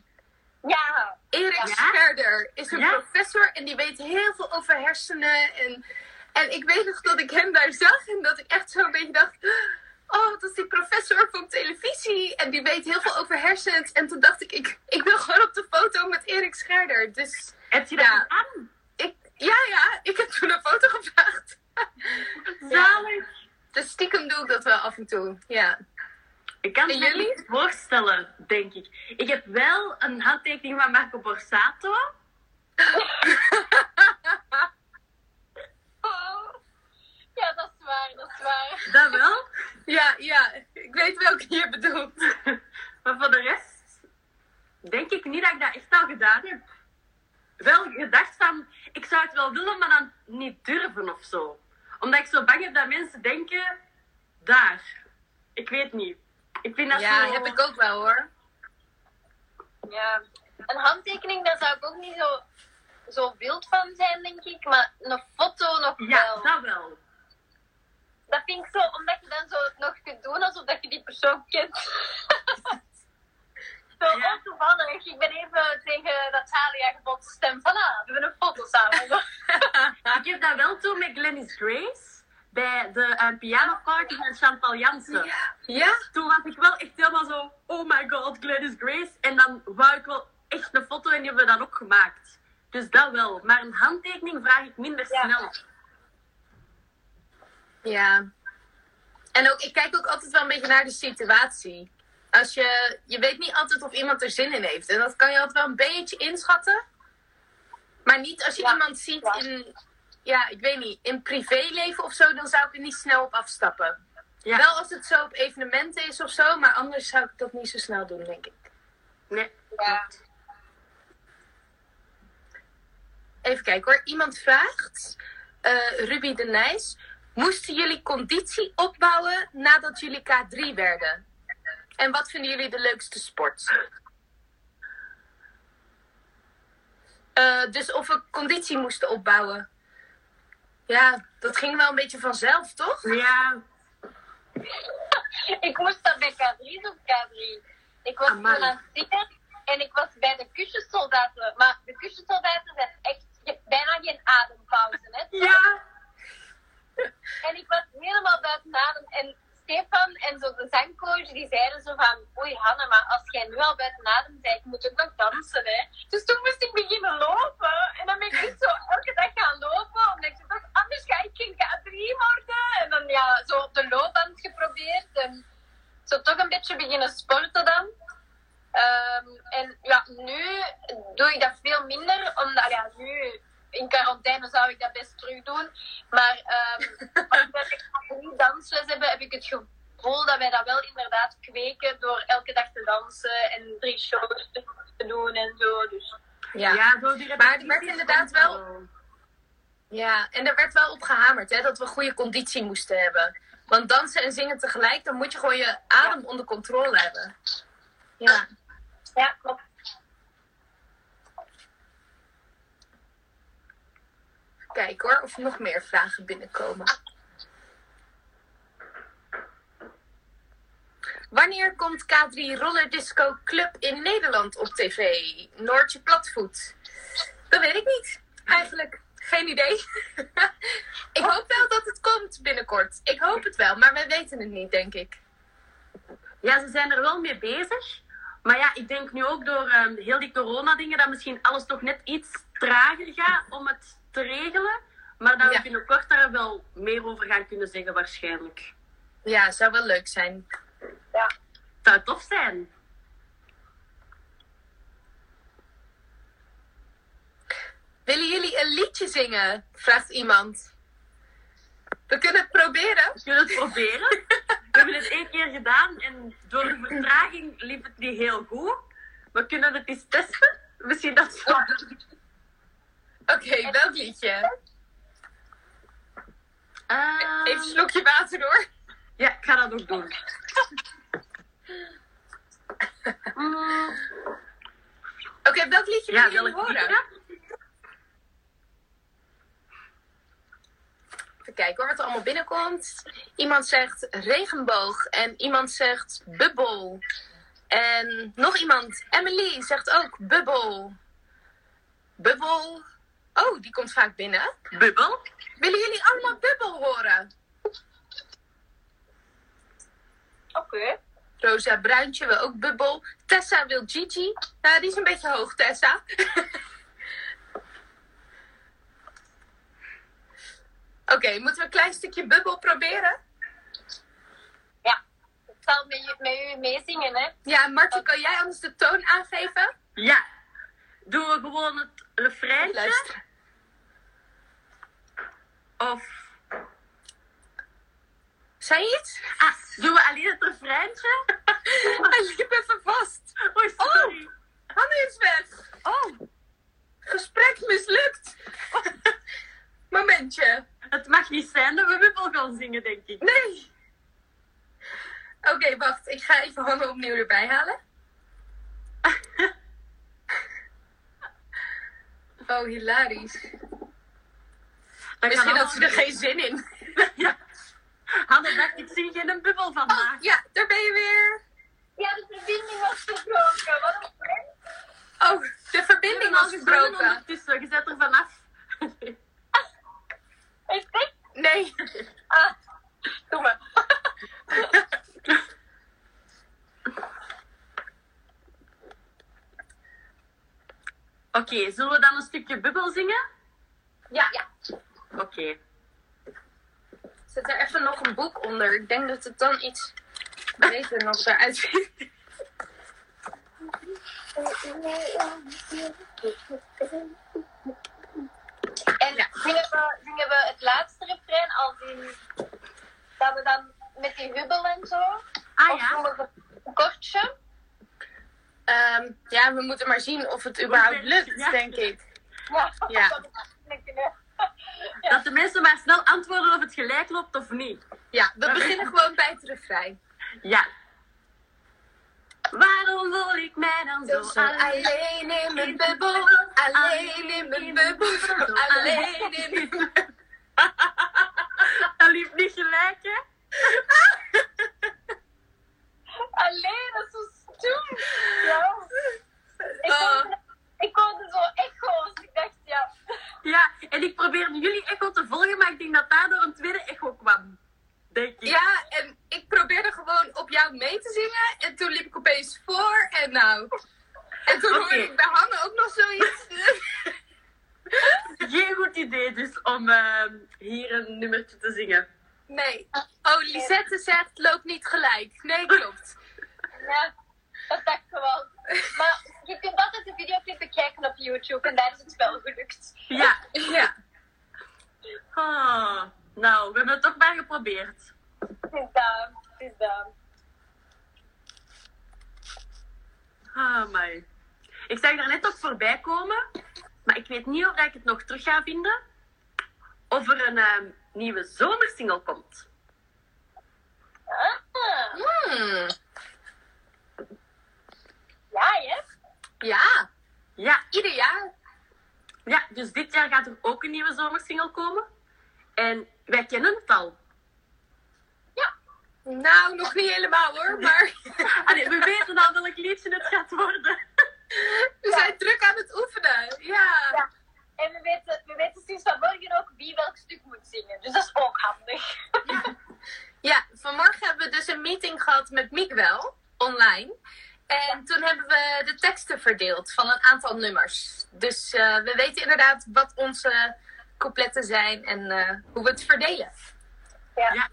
Speaker 2: Ja.
Speaker 1: Erik
Speaker 3: Ja?
Speaker 1: Scherder is een
Speaker 3: Ja?
Speaker 1: professor en die weet heel veel over hersenen. En, en ik weet nog dat ik hem daar zag en dat ik echt zo'n beetje dacht... Oh, dat is die professor van televisie en die weet heel veel over hersens. En toen dacht ik, ik, ik wil gewoon op de foto met Erik Scherder. Dus
Speaker 3: Heb je dat
Speaker 1: Ja.
Speaker 3: aan?
Speaker 1: ik, ja, ja, ik heb toen een foto gevraagd.
Speaker 3: Zalig!
Speaker 1: Dus stiekem doe ik dat wel af en toe, ja.
Speaker 3: Ik kan het
Speaker 1: En
Speaker 3: me
Speaker 1: jullie?
Speaker 3: niet voorstellen, denk ik. Ik heb wel een handtekening van Marco Borsato.
Speaker 2: Oh. Ja, dat is waar, dat is waar.
Speaker 3: Dat wel.
Speaker 1: Ja, ja, ik weet welke je bedoelt.
Speaker 3: maar voor de rest denk ik niet dat ik dat echt al gedaan heb. Wel gedacht van, ik zou het wel willen, maar dan niet durven of zo. Omdat ik zo bang heb dat mensen denken, daar. Ik weet niet. Ik vind dat
Speaker 1: Ja,
Speaker 3: zo...
Speaker 1: heb ik ook wel hoor.
Speaker 2: Ja. Een handtekening, daar zou ik ook niet zo,
Speaker 1: nou,
Speaker 2: zo wild van zijn, denk ik. Maar een foto nog
Speaker 3: Ja,
Speaker 2: wel.
Speaker 3: dat wel.
Speaker 2: Dat vind ik zo, omdat je dan zo nog kunt doen alsof dat je die persoon kent. zo
Speaker 3: Ja.
Speaker 2: oh, toevallig. Ik ben even tegen Natalia gebotst en voilà, ah, we hebben een foto samen.
Speaker 3: Ik heb dat wel toen met Glennis Grace bij de eh, piano party van Chantal Jansen.
Speaker 1: Ja?
Speaker 3: Toen was ik wel echt helemaal zo, oh my god, Glennis Grace. En dan wou ik wel echt een foto en die hebben we dan ook gemaakt. Dus dat wel. Maar een handtekening vraag ik minder
Speaker 2: Ja.
Speaker 3: snel.
Speaker 1: Ja. En ook, ik kijk ook altijd wel een beetje naar de situatie. Als je, je weet niet altijd of iemand er zin in heeft. En dat kan je altijd wel een beetje inschatten. Maar niet als je
Speaker 2: Ja,
Speaker 1: iemand ziet
Speaker 2: ja.
Speaker 1: in, ja, ik weet niet, in privéleven of zo, dan zou ik er niet snel op afstappen.
Speaker 3: Ja.
Speaker 1: Wel als het zo op evenementen is of zo, maar anders zou ik dat niet zo snel doen, denk ik.
Speaker 3: Nee.
Speaker 2: Ja.
Speaker 1: Even kijken hoor. Iemand vraagt, eh, Ruby de Nijs, moesten jullie conditie opbouwen nadat jullie K3 werden? En wat vinden jullie de leukste sport? Eh, dus of we conditie moesten opbouwen. Ja, dat ging wel een beetje vanzelf, toch?
Speaker 3: Ja.
Speaker 2: ik moest dan bij K3 op K3. Ik was
Speaker 3: Amai.
Speaker 2: toen aan het zingen en ik was bij de kussensoldaten. Maar de kussensoldaten zijn echt, je hebt bijna geen adempauze. Hè?
Speaker 3: Ja.
Speaker 2: En ik was helemaal buiten adem. En Stefan en zo de zangcoach, die zeiden zo van... Oei, Hanne, maar als jij nu al buiten adem bent, moet je ook nog dansen, hè. Dus toen moest ik beginnen lopen. En dan ben ik echt zo elke dag gaan lopen. Omdat ik dacht, anders ga ik geen K3 worden. En dan ja, zo op de loopband geprobeerd. En zo toch een beetje beginnen sporten dan. Ehm, en ja, nu doe ik dat veel minder, omdat ja, nu in quarantaine zou ik dat best terug doen. Maar ehm omdat ik drie dansles heb, heb ik het gevoel dat wij dat wel inderdaad kweken door elke dag te dansen en drie shows te doen en zo. Dus
Speaker 1: Ja. ja.
Speaker 3: Ja, door die
Speaker 1: Maar het
Speaker 3: repetities
Speaker 1: werd inderdaad
Speaker 3: komt
Speaker 1: wel- en er werd wel op gehamerd hè, dat we goede conditie moesten hebben. Want dansen en zingen tegelijk, dan moet je gewoon je adem onder controle hebben. Ja.
Speaker 2: ja, klopt.
Speaker 1: Kijk hoor, of er nog meer vragen binnenkomen. Wanneer komt K3 Roller Disco Club in Nederland op tv? Noortje Platvoet. Dat weet ik niet, eigenlijk. Geen idee. ik hoop wel dat het komt binnenkort. Ik hoop het wel, maar wij weten het niet, denk ik.
Speaker 3: Ja, ze zijn er wel mee bezig. Maar ja, ik denk nu ook door ehm, heel die corona-dingen dat misschien alles toch net iets trager gaat om het te regelen. Maar dat
Speaker 1: Ja.
Speaker 3: we binnenkort daar wel meer over gaan kunnen zeggen waarschijnlijk.
Speaker 1: Ja, zou wel leuk zijn.
Speaker 2: Ja.
Speaker 3: Het zou tof zijn.
Speaker 1: Willen jullie een liedje zingen? Vraagt iemand. We kunnen het proberen.
Speaker 3: We kunnen het proberen. We hebben het één keer gedaan en door de vertraging liep het niet heel goed. We kunnen het eens testen. Misschien dat zo.
Speaker 1: Oké, welk liedje?
Speaker 3: Ehm,
Speaker 1: Even een slokje water hoor.
Speaker 3: Ja, ik ga dat ook doen. Mm,
Speaker 1: Oké, welk liedje
Speaker 3: ja,
Speaker 1: wil je
Speaker 3: welk
Speaker 1: horen?
Speaker 3: liedje?
Speaker 1: Even kijken hoor, wat er allemaal binnenkomt. Iemand zegt regenboog en iemand zegt bubbel. En nog iemand, Emily, zegt ook bubbel. Bubbel. Oh, die komt vaak binnen.
Speaker 3: Bubbel?
Speaker 1: Willen jullie allemaal bubbel horen?
Speaker 2: Oké.
Speaker 1: Rosa Bruintje wil ook bubbel. Tessa wil Gigi. Nou, die is een beetje hoog, Tessa. Oké, moeten we een klein stukje bubbel proberen?
Speaker 2: Ja. Ik zal met, u- met u meezingen, hè.
Speaker 1: Ja, Martin, kan jij anders de toon aangeven?
Speaker 3: Ja. Doen we gewoon het refreintje?
Speaker 1: Luister.
Speaker 3: Of
Speaker 1: Zei je iets?
Speaker 3: ah, doen we alleen het refreintje?
Speaker 1: Hij liep even vast.
Speaker 3: Oei, sorry.
Speaker 1: Hanne is weg.
Speaker 3: Oh,
Speaker 1: Gesprek mislukt. Momentje.
Speaker 3: het mag niet zijn dat we bubbel gaan zingen, denk ik.
Speaker 1: Nee. Oké, wacht. Ik ga even Hanne opnieuw erbij halen. Oh, hilarisch.
Speaker 3: Dat kan
Speaker 1: Misschien had ze er
Speaker 3: allemaal
Speaker 1: geen zin in.
Speaker 3: niet. Ja. Hanne dacht, ik zie geen bubbel vandaag.
Speaker 1: Oh, ja, daar ben je weer.
Speaker 2: Ja, de verbinding was verbroken. Wat een probleem.
Speaker 1: Oh, de verbinding was verbroken.
Speaker 3: ondertussen. Je zet er vanaf.
Speaker 2: Ik denk,
Speaker 1: Nee.
Speaker 2: ah, doe maar.
Speaker 3: Oké, zullen we dan een stukje bubbel zingen?
Speaker 2: Ja, ja.
Speaker 3: Oké.
Speaker 1: Zet er even nog een boek onder. Ik denk dat het dan iets beter nog eruit ziet.
Speaker 2: En zingen, we, zingen we het laatste refrein als in dat we dan met die hubbel en zo?
Speaker 3: Ah
Speaker 2: of doen
Speaker 3: ja,
Speaker 2: we het kortje?
Speaker 1: Ehm, ja, we moeten maar zien of het überhaupt lukt,
Speaker 3: Ja.
Speaker 1: denk ik.
Speaker 2: Ja.
Speaker 1: Ja.
Speaker 2: Dat we kunnen.
Speaker 3: dat de mensen maar snel antwoorden of het gelijk loopt of niet.
Speaker 1: Ja, we beginnen gewoon bij het refrein.
Speaker 3: Ja. Waarom voel ik mij dan zo
Speaker 1: Zo
Speaker 3: alleen?
Speaker 1: alleen in mijn bubbel, alleen in mijn bubbel, alleen in mijn bubbel.
Speaker 3: Dat liep niet gelijk, hè?
Speaker 2: Alleen, dat is zo stom. Ja. Ik
Speaker 1: Oh.
Speaker 2: hoorde, ik hoorde zo echo's. Ik dacht, ja.
Speaker 3: Ja, en ik probeerde jullie echo te volgen, maar ik denk dat daardoor een tweede echo kwam. Denk ik.
Speaker 1: Ja, en ik probeerde gewoon op jou mee te zingen. En toen liep ik opeens voor en nou. En toen hoorde
Speaker 3: Oké.
Speaker 1: ik bij Hanne ook nog zoiets.
Speaker 3: Geen goed idee dus om eh, hier een nummertje te zingen.
Speaker 1: Nee. Oh, Lisette zegt, loop niet gelijk. Nee, klopt.
Speaker 2: Ja, dat dacht ik wel. Maar je kunt altijd de videoclip bekijken op YouTube en daar is het wel gelukt.
Speaker 3: Ja.
Speaker 1: Ja.
Speaker 3: Oh, nou, we hebben het toch maar geprobeerd.
Speaker 2: Het is daar, het is ehm, daar.
Speaker 3: Ah, my. Ik zag daar net ook voorbij komen, maar ik weet niet of dat ik het nog terug ga vinden. Of er een eh, nieuwe zomersingle komt.
Speaker 2: Ah,
Speaker 1: Hmm.
Speaker 2: ja, hè?
Speaker 1: Ja,
Speaker 3: Ja,
Speaker 1: ieder jaar.
Speaker 3: ja, dus dit jaar gaat er ook een nieuwe zomersingle komen. En wij kennen het al.
Speaker 1: Nou, nog niet helemaal hoor, maar
Speaker 3: Allee, we weten al welk liedje het gaat worden.
Speaker 1: we zijn druk aan het oefenen. Ja.
Speaker 2: Ja. En we weten, we weten sinds vanmorgen ook wie welk stuk moet zingen. Dus dat is ook handig.
Speaker 1: Ja, vanmorgen hebben we dus een meeting gehad met Miguel online. En toen hebben we de teksten verdeeld van een aantal nummers. Dus eh, we weten inderdaad wat onze coupletten zijn en eh, hoe we het verdelen.
Speaker 2: Ja.
Speaker 3: Ja.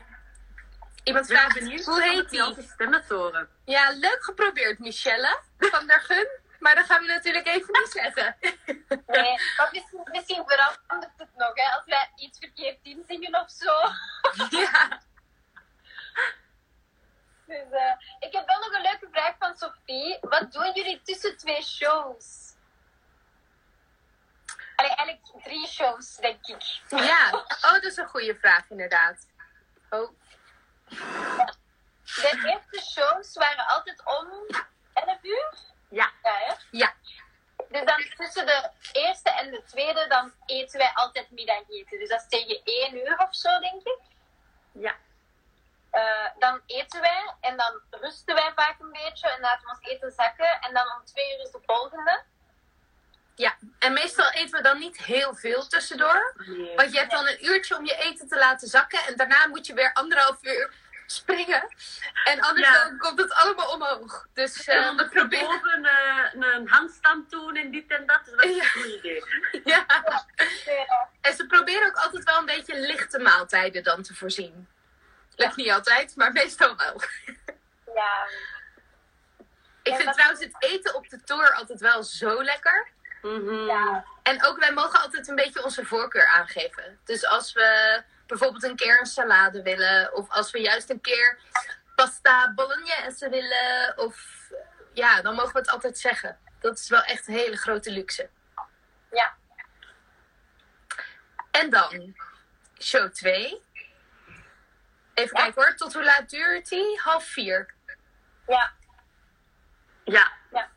Speaker 1: Iemand
Speaker 3: Dus We zijn
Speaker 1: vraagt,
Speaker 3: benieuwd
Speaker 1: hoe
Speaker 3: om
Speaker 1: heet
Speaker 3: die
Speaker 1: die?
Speaker 3: onze stemmen te horen.
Speaker 1: Ja, leuk geprobeerd, Michelle van der Gun. Maar dat gaan we natuurlijk even niet zetten.
Speaker 2: Nee, maar misschien, misschien verandert het nog, hè? Als wij iets verkeerd inzingen of zo.
Speaker 1: Ja.
Speaker 2: Dus, eh, ik heb wel nog een leuke vraag van Sophie. Wat doen jullie tussen twee shows? Allee, eigenlijk drie shows, denk ik.
Speaker 1: ja, oh, dat is een goede vraag inderdaad. Oh,
Speaker 2: De eerste shows waren altijd om 11 uur.
Speaker 3: Ja.
Speaker 2: Ja, hè?
Speaker 1: ja.
Speaker 2: Dus dan tussen de eerste en de tweede, dan eten wij altijd middageten. Dus dat is tegen 1 uur of zo, denk ik.
Speaker 3: Ja.
Speaker 2: Eh, dan eten wij en dan rusten wij vaak een beetje en laten we ons eten zakken. En dan om twee uur is de volgende.
Speaker 1: Ja, en meestal eten we dan niet heel veel tussendoor.
Speaker 3: Nee.
Speaker 1: Want je hebt dan een uurtje om je eten te laten zakken. En daarna moet je weer anderhalf uur springen. En anders
Speaker 3: Ja.
Speaker 1: dan komt het allemaal omhoog. Dus eh,
Speaker 3: En
Speaker 1: we
Speaker 3: dan
Speaker 1: proberen...
Speaker 3: boven een, eh, een handstand doen en dit en dat. Dus dat is een
Speaker 1: Ja.
Speaker 3: goed idee.
Speaker 1: Ja.
Speaker 2: Ja.
Speaker 1: En ze proberen ook altijd wel een beetje lichte maaltijden dan te voorzien. Lukt niet altijd, maar meestal wel.
Speaker 2: ja.
Speaker 1: Ik vind
Speaker 2: wat-
Speaker 1: trouwens het eten op de tour altijd wel zo lekker.
Speaker 3: Mhm.
Speaker 2: Ja.
Speaker 1: En ook wij mogen altijd een beetje onze voorkeur aangeven. Dus als we bijvoorbeeld een keer een salade willen, of als we juist een keer pasta bolognese willen, of ja, dan mogen we het altijd zeggen. Dat is wel echt een hele grote luxe.
Speaker 2: ja.
Speaker 1: En dan, show 2. Even
Speaker 2: Ja.
Speaker 1: kijken hoor, tot hoe laat duurt die? Half vier.
Speaker 2: ja.
Speaker 3: Ja.
Speaker 2: ja.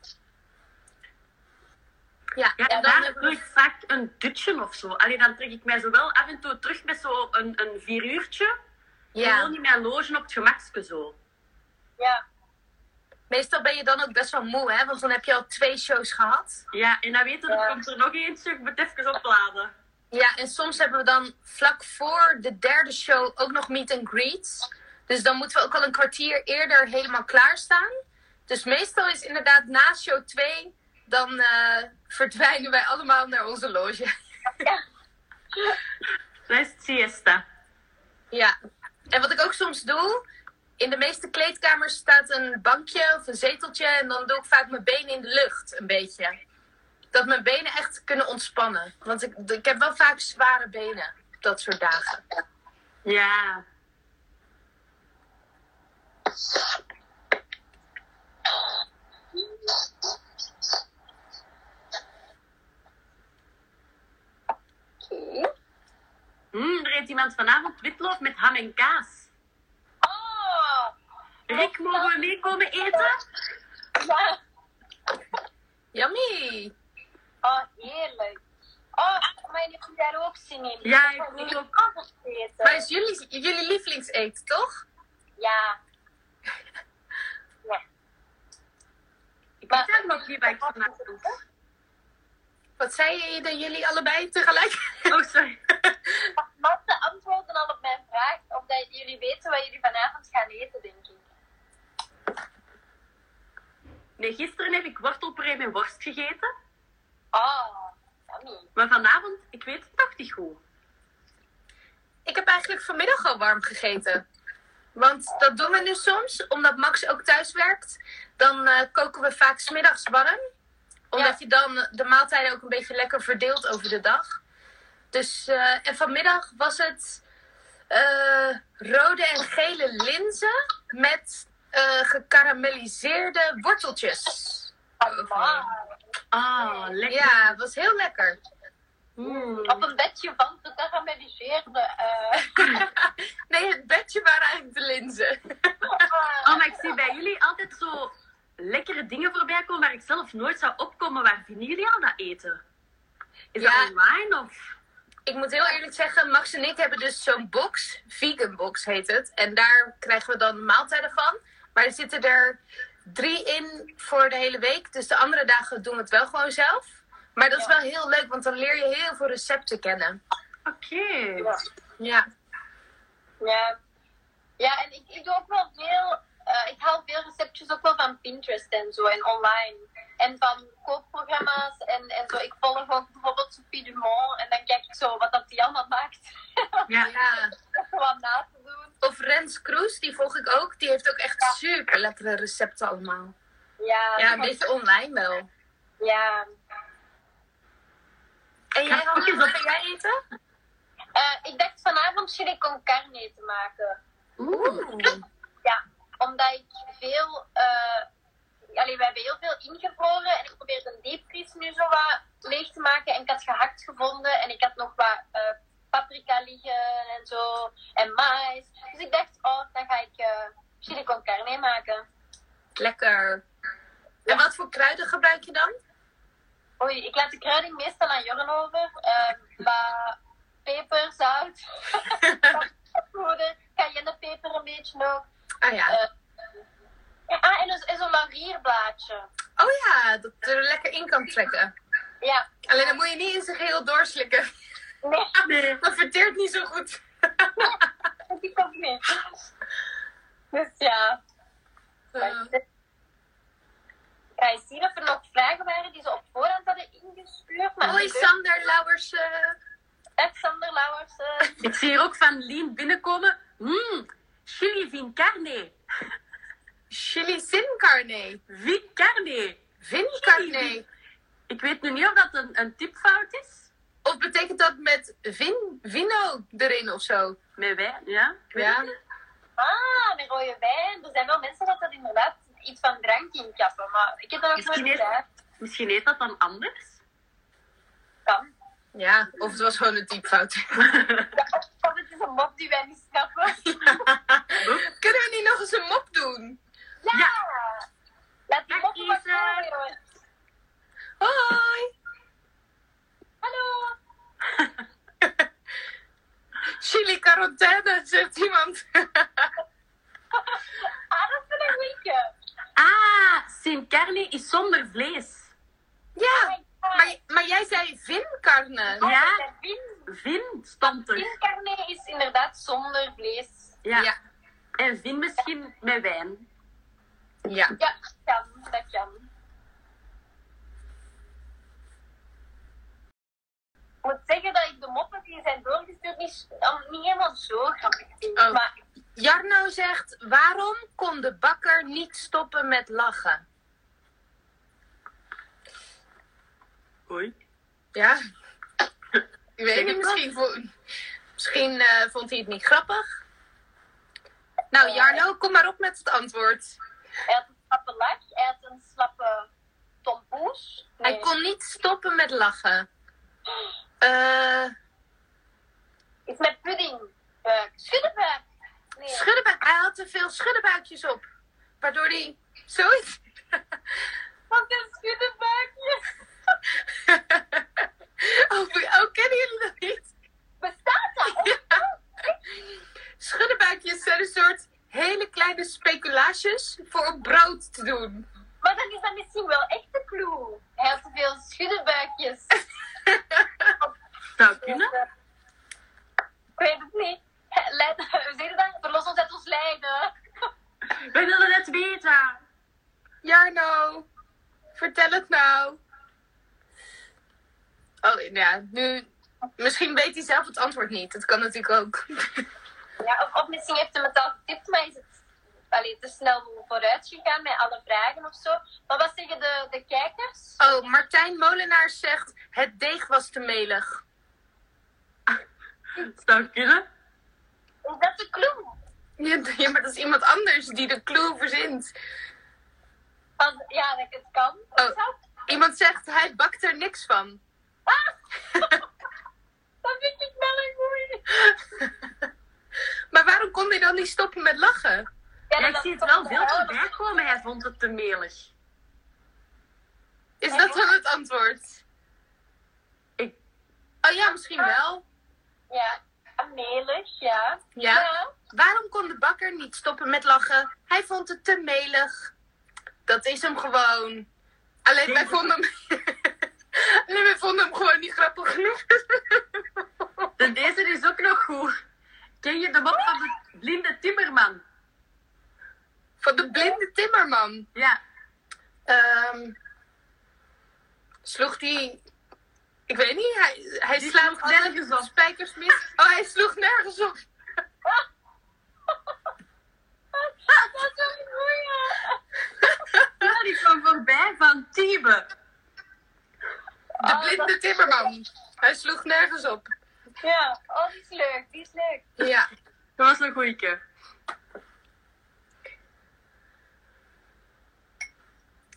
Speaker 1: Ja,
Speaker 3: Ja,
Speaker 1: en dan
Speaker 3: en daar
Speaker 1: hebben
Speaker 3: doe
Speaker 1: we...
Speaker 3: ik vaak een dutje of zo. Alleen dan trek ik mij zo wel af en toe terug met zo'n een, een vieruurtje.
Speaker 1: Ja.
Speaker 3: Gewoon niet mijn logen op het gemakske zo.
Speaker 2: Ja.
Speaker 1: Meestal ben je dan ook best wel moe, hè? Want dan heb je al twee shows gehad.
Speaker 3: Ja, en dan weten we, er
Speaker 2: Ja.
Speaker 3: komt er nog eentje, ik moet even opladen.
Speaker 1: Ja, en soms hebben we dan vlak voor de derde show ook nog meet and greets. Dus dan moeten we ook al een kwartier eerder helemaal klaarstaan. Dus meestal is inderdaad na show 2, dan eh, verdwijnen wij allemaal naar onze loge.
Speaker 3: Dat is het siesta.
Speaker 1: Ja, en wat ik ook soms doe, in de meeste kleedkamers staat een bankje of een zeteltje en dan doe ik vaak mijn benen in de lucht een beetje. Dat mijn benen echt kunnen ontspannen. Want ik, ik heb wel vaak zware benen op dat soort dagen.
Speaker 3: Ja.
Speaker 2: Oké.
Speaker 3: Mm, er eet iemand vanavond witloof met ham en kaas.
Speaker 2: Oh!
Speaker 3: Rick, mogen we meekomen eten?
Speaker 2: Ja.
Speaker 1: Yummy!
Speaker 2: Oh, heerlijk. Oh, mijn heb je daar ook zin in.
Speaker 3: Ja,
Speaker 2: Ik
Speaker 3: ik
Speaker 2: wil
Speaker 3: ook.
Speaker 2: appels eten.
Speaker 1: Maar is jullie, jullie lievelingseten, toch?
Speaker 2: Ja. Ja.
Speaker 3: Ik weet eigenlijk nog niet wat ik vanavond doe.
Speaker 1: Wat zei je dat jullie allebei tegelijk?
Speaker 3: Oh, sorry.
Speaker 2: Matte antwoorden al op mijn vraag, omdat jullie weten wat jullie vanavond gaan eten, denk ik.
Speaker 3: Nee, gisteren heb ik wortelpuree met worst gegeten.
Speaker 2: Oh, yummy.
Speaker 3: Maar vanavond, ik weet het nog niet goed.
Speaker 1: Ik heb eigenlijk vanmiddag al warm gegeten. Want dat doen we nu soms, omdat Max ook thuis werkt. Dan eh, koken we vaak 's middags warm. Omdat
Speaker 2: Ja.
Speaker 1: je dan de maaltijden ook een beetje lekker verdeelt over de dag. Dus, eh, en vanmiddag was het eh, rode en gele linzen met eh, gekarameliseerde worteltjes.
Speaker 2: Amai.
Speaker 3: Ah, lekker.
Speaker 1: Ja, het was heel lekker.
Speaker 3: Mm.
Speaker 2: Op een bedje van gekarameliseerde. eh
Speaker 1: nee, het bedje waren eigenlijk de linzen.
Speaker 3: Oh, maar ik zie bij jullie altijd zo lekkere dingen voorbij komen waar ik zelf nooit zou opkomen. Waar vinden jullie al dat eten? Is
Speaker 1: Ja.
Speaker 3: dat online of...
Speaker 1: Ik moet heel eerlijk zeggen, Max en ik hebben dus zo'n box, vegan box heet het. En daar krijgen we dan maaltijden van. Maar er zitten er drie in voor de hele week. Dus de andere dagen doen we het wel gewoon zelf. Maar dat is
Speaker 2: Ja.
Speaker 1: wel heel leuk, want dan leer je heel veel recepten kennen.
Speaker 3: Oké.
Speaker 2: ja.
Speaker 1: Ja.
Speaker 2: Ja. ja, en ik, ik doe ook wel veel. eh, ik haal veel receptjes ook wel van Pinterest en zo en online. En van kookprogramma's en, en zo. Ik volg ook bijvoorbeeld Sophie Dumont en dan kijk ik zo wat dat die allemaal maakt.
Speaker 3: Ja.
Speaker 1: ja.
Speaker 2: Wat na te doen.
Speaker 1: Of Rens Kroes, die volg ik ook. Die heeft ook echt super lekkere recepten allemaal.
Speaker 2: Ja,
Speaker 1: Ja, een beetje online wel.
Speaker 2: Ja.
Speaker 1: En jij, Hanna, wat ga jij eten?
Speaker 2: Eh, ik dacht vanavond chili con carne te maken.
Speaker 1: Oeh.
Speaker 2: Ja, omdat ik veel. eh allee, we hebben heel veel ingevroren en ik probeer de diepvries nu zo wat leeg te maken. En ik had gehakt gevonden en ik had nog wat eh, paprika liggen en zo. En mais. Dus ik dacht, oh, dan ga ik eh chili con carne maken.
Speaker 1: Lekker. En wat voor kruiden gebruik je dan?
Speaker 2: Oei, ik laat de kruiding meestal aan Jorren over. Eh, wat peper, zout, poeder, cayennepeper een beetje nog.
Speaker 1: Ah ja.
Speaker 2: Eh, ah, en, dus- en zo'n laurierblaadje.
Speaker 1: Oh ja, dat er lekker in kan trekken.
Speaker 2: Ja.
Speaker 1: Alleen dan moet je niet in zijn geheel doorslikken.
Speaker 2: Nee,
Speaker 3: Nee.
Speaker 1: Dat verteert niet zo goed.
Speaker 2: die komt niet. Dus ja.
Speaker 1: Eh,
Speaker 2: Ga je zien of er nog vragen waren die ze op voorhand hadden ingestuurd? Maar
Speaker 1: hoi Sander Lauwers. eh.
Speaker 2: Dag Sander Lauwers. eh.
Speaker 3: Ik zie hier ook van Lien binnenkomen. Mm, chili vin carne.
Speaker 1: chili sin carne.
Speaker 3: Vin carne.
Speaker 1: Vin carne.
Speaker 3: Ik weet nu niet of dat een, een tipfout is.
Speaker 1: Of betekent dat met vin, vino erin of zo?
Speaker 3: Met wij, ja. Ik weet
Speaker 1: Ja.
Speaker 3: het niet.
Speaker 2: Ah, met rode wijn. Er zijn wel mensen dat dat inderdaad iets van drank inkappen. Maar ik heb dat ook nooit
Speaker 3: Misschien is-
Speaker 2: gedaan.
Speaker 3: Misschien heet dat dan anders.
Speaker 2: Kan.
Speaker 1: Ja, of het was gewoon een typfout.
Speaker 2: Ja, of- of het is een mop die wij niet snappen.
Speaker 1: Kunnen we niet nog eens een mop doen?
Speaker 2: Ja! Laat die
Speaker 3: Dag,
Speaker 2: mop maar
Speaker 3: Isa.
Speaker 2: komen,
Speaker 1: Hoi.
Speaker 2: Hallo!
Speaker 1: Chili quarantaine, zegt iemand.
Speaker 2: Ah, dat vind ik wieke.
Speaker 3: Ah, sin carne is zonder vlees.
Speaker 1: ja, maar, maar jij zei
Speaker 2: Oh.
Speaker 1: vinkarne.
Speaker 3: Ah, Ja.
Speaker 2: Ja. Vin,
Speaker 3: Vin stond er.
Speaker 2: vincarne is inderdaad zonder vlees.
Speaker 3: Ja.
Speaker 1: ja.
Speaker 3: En vin misschien met wijn.
Speaker 1: ja.
Speaker 2: Ja, dat kan. Dat kan. Ik moet zeggen dat ik de moppen die zijn doorgestuurd niet, niet helemaal zo grappig vind.
Speaker 1: Oh.
Speaker 2: Maar
Speaker 1: Jarno zegt, waarom kon de bakker niet stoppen met lachen?
Speaker 3: Oei.
Speaker 1: Ja, ik weet
Speaker 3: Vind
Speaker 1: niet,
Speaker 3: ik
Speaker 1: misschien, vo- misschien eh, vond hij het niet grappig. Nou Jarno, kom maar op met het antwoord.
Speaker 2: hij had een slappe lach, hij had een slappe tompoes.
Speaker 1: Hij kon niet stoppen met lachen. Eh
Speaker 2: Iets met pudding. Buik. Schuddenbuik. Nee.
Speaker 1: schuddenbuik, hij had te veel schuddenbuikjes op. Waardoor hij zoiets...
Speaker 2: Wat een schuddenbuikje.
Speaker 1: oh, oh, kennen jullie dat niet?
Speaker 2: Bestaat dat?
Speaker 1: Schuddenbuikjes zijn een soort hele kleine speculaasjes voor op brood te doen.
Speaker 2: Maar dan is dat misschien wel echt de clue. Hij had te veel schuddenbuikjes.
Speaker 3: Zou kunnen.
Speaker 2: Ik weet het niet. Leid, we zitten daar. Verlos ons uit ons lijden.
Speaker 3: We willen het weten.
Speaker 1: Jarno, vertel het nou. Oh ja, nu. Misschien weet hij zelf het antwoord niet. Dat kan natuurlijk ook.
Speaker 2: Ja, of, of misschien heeft hij het al getipt, maar is het allee, te snel vooruit gegaan met alle vragen of zo. Maar wat zeggen de, de kijkers?
Speaker 1: Oh, Martijn Molenaar zegt: het deeg was te melig.
Speaker 3: Zou kunnen.
Speaker 2: Is dat de clue?
Speaker 1: Ja, d- ja, maar dat is iemand anders die de clue verzint.
Speaker 2: Van, ja, dat het kan.
Speaker 1: Oh.
Speaker 2: Zou-
Speaker 1: Iemand zegt: hij bakt er niks van.
Speaker 2: Ah! dat vind ik wel een goeie.
Speaker 1: maar waarom kon hij dan niet stoppen met lachen?
Speaker 2: Ja,
Speaker 3: Ja, ik
Speaker 2: dat
Speaker 3: zie het
Speaker 2: is
Speaker 3: wel
Speaker 2: toch
Speaker 3: veel
Speaker 2: wel-
Speaker 3: voorbij komen. Hij vond het te melig.
Speaker 1: Is dat dan het antwoord?
Speaker 3: Ik-
Speaker 1: Oh ja, misschien wel.
Speaker 2: Ja, melig, ja.
Speaker 1: Ja. Waarom kon de bakker niet stoppen met lachen? Hij vond het te melig. Dat is hem gewoon. Alleen wij vonden hem. Alleen wij vonden hem gewoon niet grappig genoeg.
Speaker 3: En deze is ook nog goed. Ken je de mop van de blinde timmerman?
Speaker 1: Van de blinde timmerman.
Speaker 3: Ja.
Speaker 1: Ehm, sloeg die. Ik weet niet, hij, hij
Speaker 3: Die
Speaker 1: slaat
Speaker 3: sloeg nergens op.
Speaker 1: spijkers mis. Oh, hij sloeg nergens op.
Speaker 2: Dat is wel een goeie.
Speaker 3: Ja, die kwam voorbij van Tiebe. Oh,
Speaker 1: De blinde timmerman. Hij sloeg nergens op.
Speaker 2: Ja, oh, die is leuk, die is leuk.
Speaker 1: Ja.
Speaker 3: Dat was een goeieke.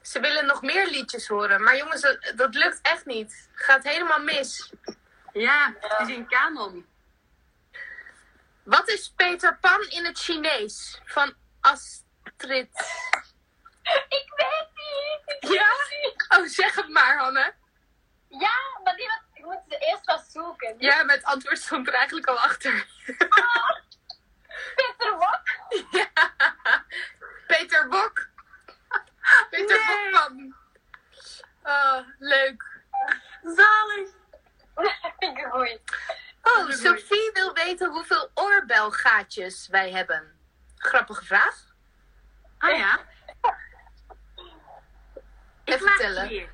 Speaker 1: Ze willen nog meer liedjes horen. Maar jongens, dat, dat lukt echt niet. Gaat helemaal mis.
Speaker 3: Ja, het is in kanon.
Speaker 1: Wat is Peter Pan in het Chinees? Van Astrid.
Speaker 2: Ik weet niet. Ik
Speaker 1: Ja?
Speaker 2: weet niet.
Speaker 1: Oh, zeg het maar, Hanne.
Speaker 2: Ja, maar die was, ik moet ze eerst wat zoeken.
Speaker 1: Ja, met antwoord stond er eigenlijk al achter. Oh.
Speaker 2: Peter Wok?
Speaker 1: ja. Peter Bok. Peter
Speaker 3: Nee.
Speaker 1: Bokman. Oh, leuk.
Speaker 3: Zalig.
Speaker 2: vind ik een goeie.
Speaker 1: Oh, Sophie wil weten hoeveel oorbelgaatjes wij hebben. Grappige vraag.
Speaker 3: Ah ja. Ik
Speaker 1: Even
Speaker 3: maak
Speaker 1: tellen.
Speaker 3: twee.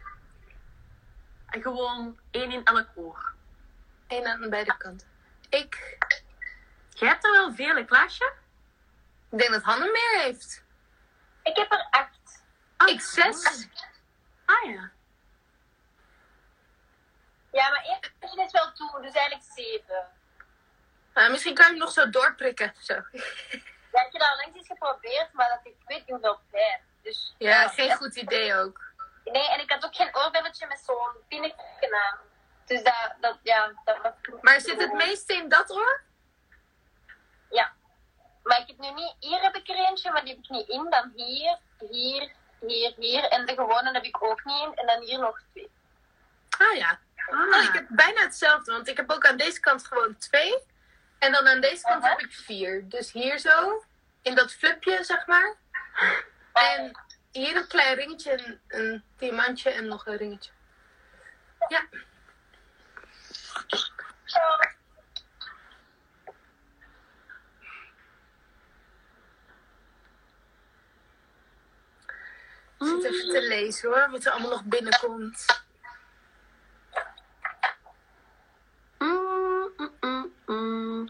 Speaker 3: En gewoon één in elk oor.
Speaker 1: Eén aan beide kanten. Ik
Speaker 3: Jij hebt er wel veel, hè, Klaasje?
Speaker 1: Ik denk dat Hanne meer heeft.
Speaker 2: Ik heb er acht.
Speaker 3: Ah,
Speaker 1: Ik zes.
Speaker 3: Ah ja.
Speaker 2: Ja, maar één één is wel toe, dus eigenlijk zeven.
Speaker 1: Nou, misschien kan je hem nog zo doorprikken. Zo.
Speaker 2: Ja, ik heb dat al langs eens geprobeerd, maar dat ik weet niet hoeveel pijn. Dus,
Speaker 1: Ja, geen goed idee ook.
Speaker 2: Nee, en ik had ook geen oorbelletje met zo'n pinnetje aan. Dus dat, dat, ja, dat was...
Speaker 1: Maar zit het meeste in dat oor?
Speaker 2: Ja. Maar ik heb nu niet... Hier heb ik er eentje, maar die heb ik niet in. Dan hier, hier, hier, hier. En de gewone heb ik ook niet in. En dan hier nog twee.
Speaker 1: Ah ja.
Speaker 3: Ah.
Speaker 1: Ah. Oh, ik heb bijna hetzelfde, want ik heb ook aan deze kant gewoon twee. En dan aan deze kant
Speaker 2: Aha.
Speaker 1: heb ik vier. Dus hier zo, in dat flipje, zeg maar. En hier een klein ringetje, een, een diamantje en nog een ringetje. Ja,
Speaker 2: Eh,
Speaker 1: ik zit even te lezen hoor, wat er allemaal nog binnenkomt.
Speaker 3: Mm, mm, mm, mm.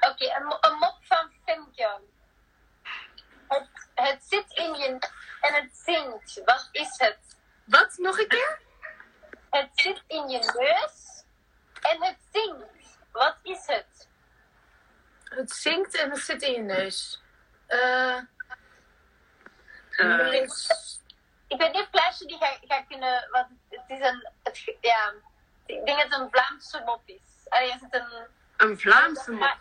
Speaker 2: Oké, een, mo- een mop van Fimke. Het, het zit in je en het zingt. Wat is het?
Speaker 1: Wat, nog een keer?
Speaker 2: Het zit in je neus en het zingt. Wat is het?
Speaker 1: Het zinkt en het zit in je neus. Eh,
Speaker 3: Eh,
Speaker 1: neus.
Speaker 2: Ik weet niet of Klaasje die gaat ga kunnen... Want het is een... Het, ge- ja, ik denk dat het een Vlaamse mop is. Allee, is het een...
Speaker 3: een Vlaamse mop.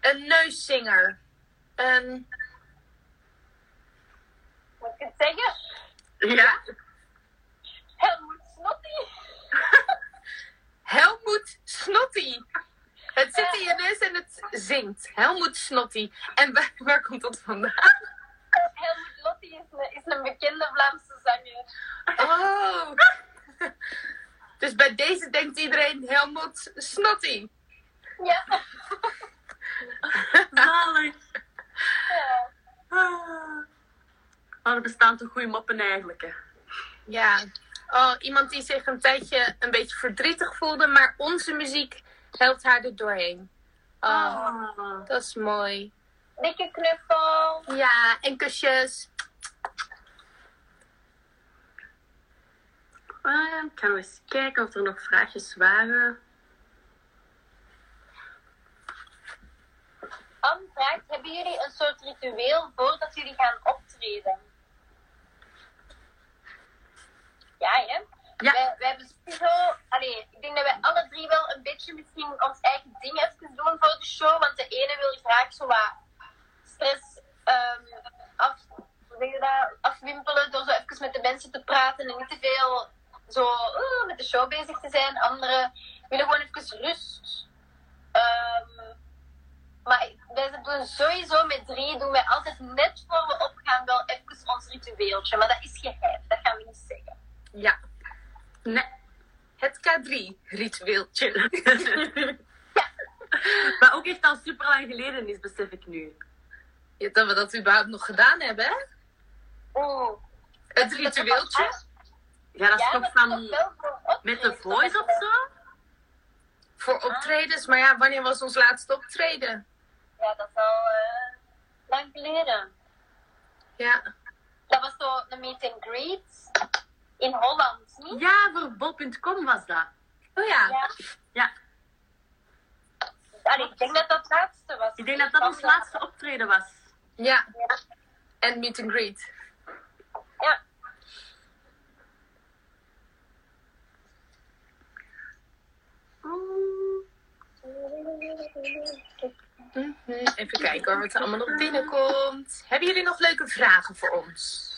Speaker 1: Een neuszinger. Een,
Speaker 2: Moet ik het zeggen?
Speaker 3: Ja?
Speaker 2: Helmoet Snotty.
Speaker 1: Helmoet Snotty. Het zit in je neus en het zingt. Helmoet Snotty. En waar, waar komt dat vandaan?
Speaker 2: Helmoet Lotti is een, is een bekende Vlaamse zanger.
Speaker 1: Oh. Dus bij deze denkt iedereen Helmoet Snotty.
Speaker 2: Ja.
Speaker 3: Zalig.
Speaker 2: ja.
Speaker 3: Ah. Oh, er bestaan toch goede moppen eigenlijk, hè?
Speaker 1: Ja. Oh, iemand die zich een tijdje een beetje verdrietig voelde, maar onze muziek helpt haar er doorheen. Oh,
Speaker 3: Ah.
Speaker 1: dat is mooi.
Speaker 2: Dikke knuffel.
Speaker 1: Ja, en kusjes.
Speaker 3: Eh, ik ga nog eens kijken of er nog vraagjes waren.
Speaker 2: Anne vraagt, hebben jullie een soort ritueel voordat jullie gaan optreden? Ja, hè?
Speaker 3: Ja.
Speaker 2: Wij, wij hebben sowieso... Allee, ik denk dat wij alle drie wel een beetje misschien ons eigen ding even doen voor de show. Want de ene wil graag zo wat stress ehm, af, hoe zeg je dat, afwimpelen door zo even met de mensen te praten en niet te veel zo eh, met de show bezig te zijn. Anderen willen gewoon even rust. Ehm, maar wij doen sowieso met drie, doen wij altijd net voor we opgaan wel even ons ritueeltje. Maar dat is geheim, dat gaan we niet zeggen.
Speaker 1: Ja,
Speaker 3: Nee.
Speaker 1: het K3-ritueeltje.
Speaker 3: Maar ook echt al super lang geleden is, besef ik nu.
Speaker 1: Ja, dat we dat überhaupt nog gedaan hebben, hè?
Speaker 2: Oeh.
Speaker 1: Het ritueeltje.
Speaker 3: Ja, Oh, dat is
Speaker 2: Ja,
Speaker 3: toch
Speaker 2: maar
Speaker 3: van
Speaker 2: dat is wel voor optreden,
Speaker 3: met de
Speaker 2: toch?
Speaker 3: voice of zo?
Speaker 1: Voor optredens, maar ja, wanneer was ons laatste optreden?
Speaker 2: Ja, dat is al eh, lang geleden.
Speaker 1: Ja.
Speaker 2: Dat was zo een meet and greet in Holland, niet?
Speaker 3: Ja, voor bol.com was dat.
Speaker 1: Oh ja.
Speaker 2: Ja.
Speaker 3: Ja,
Speaker 2: Allee, ik denk dat dat het laatste was.
Speaker 3: ik denk dat dat ons laatste optreden was.
Speaker 1: Ja.
Speaker 2: Ja.
Speaker 1: En meet and greet.
Speaker 2: Ja.
Speaker 1: Mhm. Even kijken hoor, wat er allemaal nog binnenkomt. Hebben jullie nog leuke vragen voor ons?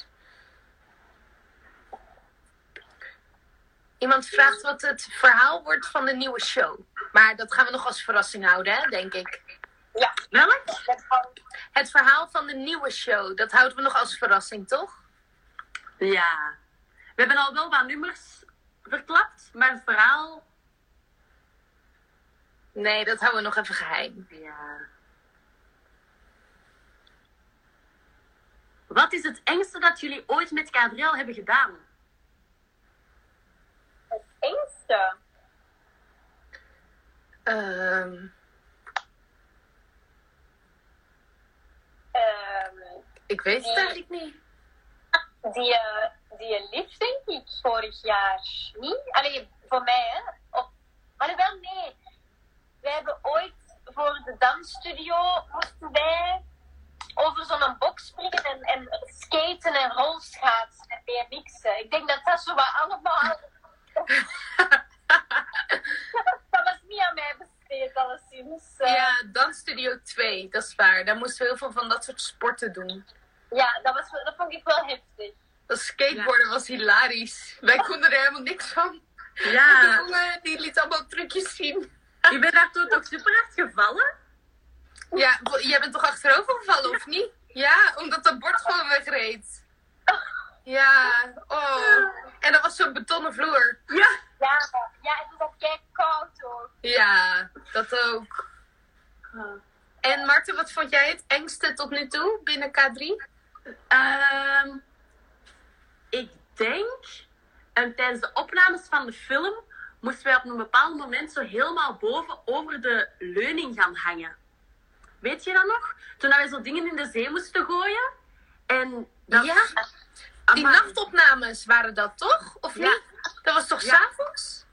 Speaker 1: Iemand vraagt wat het verhaal wordt van de nieuwe show. Maar dat gaan we nog als verrassing houden, hè, denk ik.
Speaker 2: Ja,
Speaker 3: Welk?
Speaker 2: dat kan.
Speaker 1: Het verhaal van de nieuwe show, dat houden we nog als verrassing, toch?
Speaker 3: Ja. We hebben al wel wat nummers verklapt, maar het verhaal...
Speaker 1: Nee, dat houden we nog even geheim.
Speaker 3: Ja. Wat is het engste dat jullie ooit met Gabriel hebben gedaan?
Speaker 2: Het engste.
Speaker 1: Ehm,
Speaker 2: ehm,
Speaker 1: ik weet het eigenlijk niet.
Speaker 2: die, eh, die lief, denk ik, vorig jaar. Niet? Allee, voor mij, hè. Of, alhoewel, nee. Wij hebben ooit voor de dansstudio moesten wij over zo'n box springen en, en skaten en rolschaatsen en BMX'en. Ik denk dat dat zo wat allemaal... dat was niet aan mij besteed, alleszins. Eh,
Speaker 1: Ja, Dansstudio 2, dat is waar. Daar moesten we heel veel van dat soort sporten doen.
Speaker 2: ja dat, was, wel- dat vond ik wel heftig.
Speaker 1: Dat skateboarden was hilarisch. Wij konden er helemaal niks van. Die
Speaker 3: Ja,
Speaker 1: jongen die liet allemaal trucjes zien.
Speaker 3: je bent daar toen toch super hard gevallen?
Speaker 1: Ja, bo- jij bent toch achterover gevallen, of niet? Ja, omdat dat bord gewoon wegreed. Ja, oh. En dat was zo'n betonnen vloer.
Speaker 3: Ja.
Speaker 2: Ja, ja het is ook kijk koud hoor.
Speaker 1: Ja, dat ook.
Speaker 3: Ah.
Speaker 1: En Marten, wat vond jij het engste tot nu toe binnen K3?
Speaker 3: Ehm, ik denk, en tijdens de opnames van de film moesten wij op een bepaald moment zo helemaal boven over de leuning gaan hangen. Weet je dat nog? Toen dat wij zo dingen in de zee moesten gooien. En dat,
Speaker 1: Ja, die
Speaker 3: Amai.
Speaker 1: nachtopnames waren dat toch? Of
Speaker 3: Ja.
Speaker 1: niet? Dat was toch
Speaker 3: Ja.
Speaker 1: s'avonds?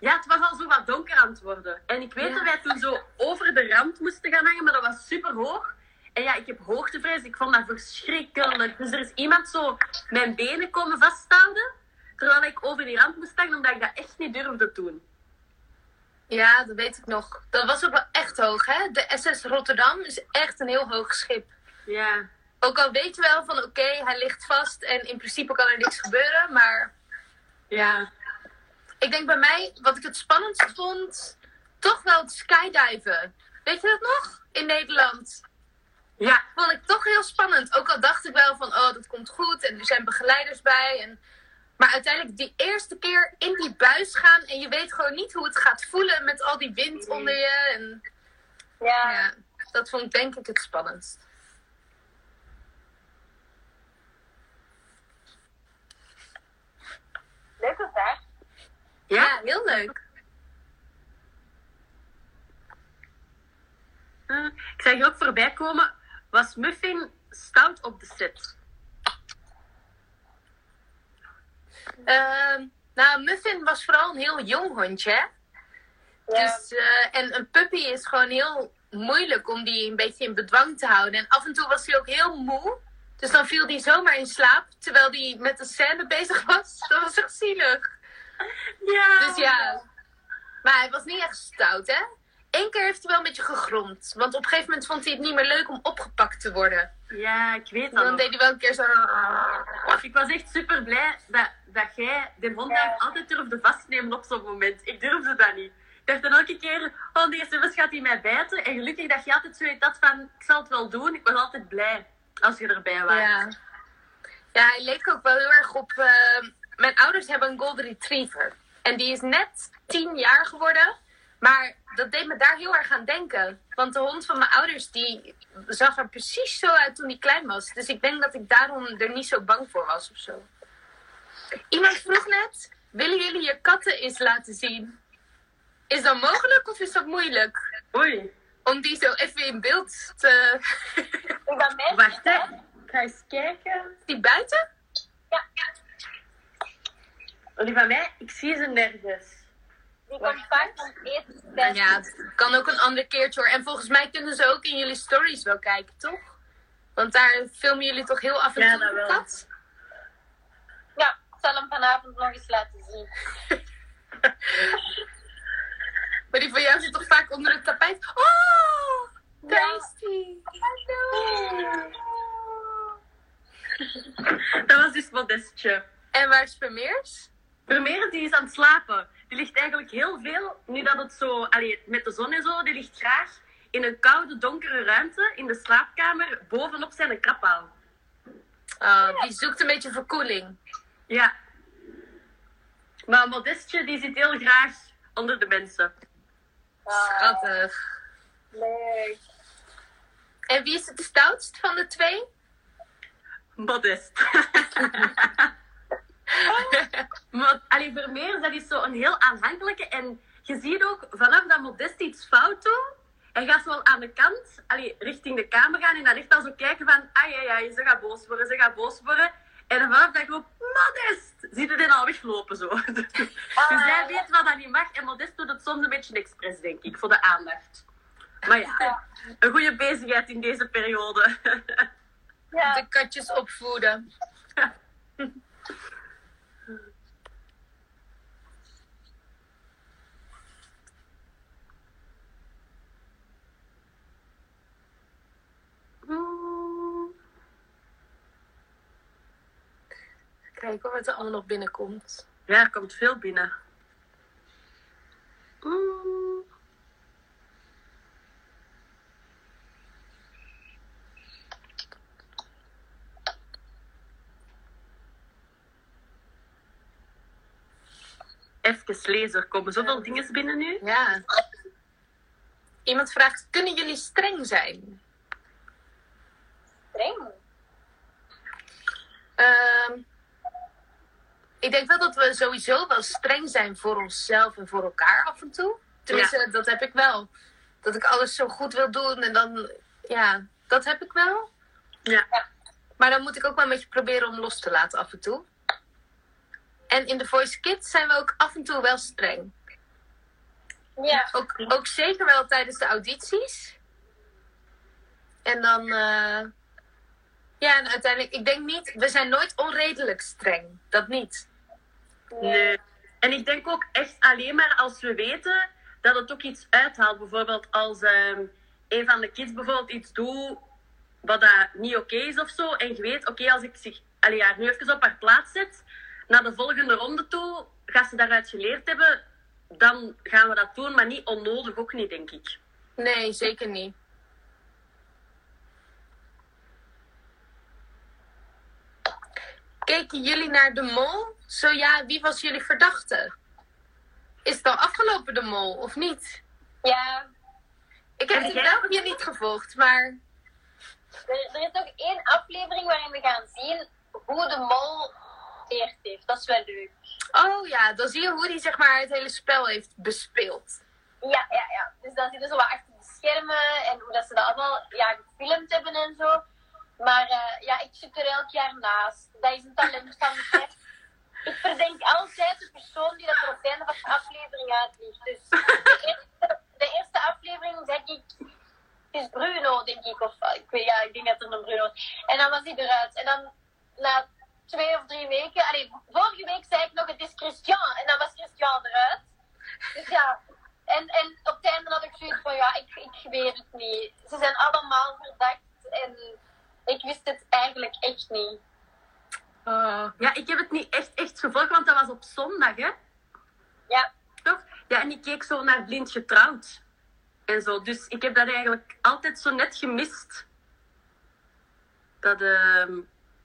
Speaker 3: Ja, het was al zo wat donker aan het worden. En ik weet
Speaker 1: Ja.
Speaker 3: dat wij toen zo over de rand moesten gaan hangen, maar dat was super hoog. En ja, ik heb hoogtevrees, ik vond dat verschrikkelijk. Dus er is iemand zo mijn benen komen vasthouden, terwijl ik over die rand moest hangen, omdat ik dat echt niet durfde doen.
Speaker 1: Ja, dat weet ik nog. Dat was ook wel echt hoog, hè? De SS Rotterdam is echt een heel hoog schip.
Speaker 3: Ja.
Speaker 1: Ook al weet je wel van oké, hij ligt vast en in principe kan er niks gebeuren, maar
Speaker 3: Ja.
Speaker 1: ik denk bij mij, wat ik het spannendst vond, toch wel het skydiven. Weet je dat nog? In Nederland.
Speaker 3: Ja.
Speaker 1: vond ik toch heel spannend. Ook al dacht ik wel van, oh, dat komt goed en er zijn begeleiders bij. En... Maar uiteindelijk die eerste keer in die buis gaan en je weet gewoon niet hoe het gaat voelen met al die wind onder je. En...
Speaker 2: Ja.
Speaker 1: Ja, dat vond ik denk ik het spannendst.
Speaker 2: Leuk is dat?
Speaker 1: Ja, heel leuk.
Speaker 3: Eh, Ik zag je ook voorbij komen, was Muffin stout op de set?
Speaker 1: Ehm, nou, Muffin was vooral een heel jong hondje. hè?
Speaker 2: Ja.
Speaker 1: Dus, eh, en een puppy is gewoon heel moeilijk om die een beetje in bedwang te houden. En af en toe was hij ook heel moe. Dus dan viel hij zomaar in slaap, terwijl hij met de scène bezig was. Dat was echt zielig.
Speaker 3: Ja.
Speaker 1: Dus ja. Maar hij was niet echt stout, hè? Eén keer heeft hij wel een beetje gegromd. Want op een gegeven moment vond hij het niet meer leuk om opgepakt te worden.
Speaker 3: Ja, ik weet dat
Speaker 1: Dan
Speaker 3: nog.
Speaker 1: deed hij wel een keer zo...
Speaker 3: Ik was echt super blij dat, dat jij de hond daar altijd durfde vastnemen op zo'n moment. Ik durfde dat niet. Ik dacht dan elke keer, oh nee, Sebas gaat hij mij bijten. En gelukkig dat je altijd zoiets had van, ik zal het wel doen. Ik was altijd blij als je erbij was.
Speaker 1: Ja. ja, hij leek ook wel heel erg op. eh, mijn ouders hebben een Golden Retriever. En die is net tien jaar geworden. Maar dat deed me daar heel erg aan denken. Want de hond van mijn ouders die zag er precies zo uit toen hij klein was. Dus ik denk dat ik daarom er niet zo bang voor was of zo. Iemand vroeg net: willen jullie je katten eens laten zien? Is dat mogelijk of is dat moeilijk?
Speaker 3: Oei,
Speaker 1: Om die zo even in beeld te.
Speaker 2: Ik ben mensen.
Speaker 3: wacht hè. Ik ga eens kijken.
Speaker 1: Is die buiten?
Speaker 2: Ja, ja.
Speaker 3: Oh, Die van mij, ik zie ze nergens.
Speaker 2: Die komt vaak van het eten.
Speaker 1: En ja, het kan ook een ander keertje hoor. En volgens mij kunnen ze ook in jullie stories wel kijken, toch? Want daar filmen jullie toch heel af en
Speaker 3: Ja,
Speaker 1: toe
Speaker 3: dat
Speaker 1: de
Speaker 3: wel.
Speaker 1: kat?
Speaker 2: Ja, ik zal hem vanavond nog eens laten zien.
Speaker 1: Maar die van jou zit toch vaak onder het tapijt? Oh, daar
Speaker 2: Ja.
Speaker 1: is die.
Speaker 3: Dat was dus Modestje.
Speaker 1: En waar is Vermeers?
Speaker 3: Vermeer, die is aan het slapen. Die ligt eigenlijk heel veel, nu dat het zo, allee, met de zon en zo, die ligt graag in een koude, donkere ruimte in de slaapkamer bovenop zijn krappaal.
Speaker 1: Oh, die zoekt een beetje verkoeling.
Speaker 3: Ja. Maar Modestje, die zit heel graag onder de mensen.
Speaker 2: Ah,
Speaker 1: Schattig.
Speaker 2: leuk.
Speaker 1: En wie is het stoutst van de twee?
Speaker 3: Modest. Oh. Maar, allee, Vermeer, dat is zo een heel aanhankelijke. En je ziet ook, vanaf dat Modest iets fout doet, hij gaat zo al aan de kant, allee, richting de kamer gaan. En dan echt al zo kijken van, ai, ai, ai, ze gaat boos worden, ze gaat boos worden. En dan vanaf dat ik roep, Modest, ziet hij dan al weglopen zo. Dus hij weet wat dat niet mag. En Modest doet het soms een beetje expres, denk ik, voor de aandacht. Maar ja, een goede bezigheid in deze periode.
Speaker 2: Ja,
Speaker 1: De katjes opvoeden. Kijk hoor, wat er allemaal nog binnenkomt.
Speaker 3: Ja, er komt veel binnen. Mm. Even lezen, er komen zoveel dingen binnen nu.
Speaker 1: Ja. Iemand vraagt, kunnen jullie streng zijn?
Speaker 2: Streng.
Speaker 1: Ehm, ik denk wel dat we sowieso wel streng zijn voor onszelf en voor elkaar af en toe. Tenminste, dat heb ik wel. Dat ik alles zo goed wil doen en dan, ja, dat heb ik wel.
Speaker 3: Ja.
Speaker 1: Maar dan moet ik ook wel een beetje proberen om los te laten af en toe. En in The Voice Kids zijn we ook af en toe wel streng.
Speaker 2: Ja.
Speaker 1: Ook, ook zeker wel tijdens de audities. En dan, eh, ja, en uiteindelijk, ik denk niet, we zijn nooit onredelijk streng. Dat niet.
Speaker 3: Nee. En ik denk ook echt alleen maar als we weten dat het ook iets uithaalt. Bijvoorbeeld als ehm, een van de kids bijvoorbeeld iets doet wat dat niet oké is of zo. En je weet, oké, als ik zich, allee, haar nu even op haar plaats zet, naar de volgende ronde toe, gaat ze daaruit geleerd hebben, dan gaan we dat doen. Maar niet onnodig ook niet, denk ik.
Speaker 1: Nee, zeker niet. Keken jullie naar de mol? Zo ja, wie was jullie verdachte? Is het al afgelopen de mol of niet?
Speaker 2: Ja.
Speaker 1: Ik heb
Speaker 3: Ja,
Speaker 1: het
Speaker 3: jij-
Speaker 1: wel hier niet gevolgd, maar
Speaker 2: Er, er is nog één aflevering waarin we gaan zien hoe de mol leert heeft. Dat is wel leuk.
Speaker 1: Oh ja, dan zie je hoe hij zeg maar, het hele spel heeft bespeeld.
Speaker 2: Ja, ja, ja. Dus dan zitten ze wat achter de schermen en hoe dat ze dat allemaal ja, gefilmd hebben en zo. Maar eh, ja, ik zit er elk jaar naast. Dat is een talent van mij. Ik verdenk altijd de persoon die dat er op het einde van de aflevering uitliegt. Dus de eerste, de eerste aflevering zeg ik, het is Bruno, denk ik. Of eh, ik weet, ja, ik denk dat er een Bruno is. En dan was hij eruit. En dan na twee of drie weken, allee, vorige week zei ik nog, het is Christian. En dan was Christian eruit. Dus ja, en, en op het einde had ik zoiets van, ja, ik, ik weet het niet. Ze zijn allemaal verdacht en ik wist het eigenlijk echt niet.
Speaker 3: Ja, ik heb het niet echt, echt gevolgd, want dat was op zondag, hè?
Speaker 2: Ja,
Speaker 3: Toch? Ja, en ik keek zo naar Blind Getrouwd. En zo. Dus ik heb dat eigenlijk altijd zo net gemist. Dat ehm,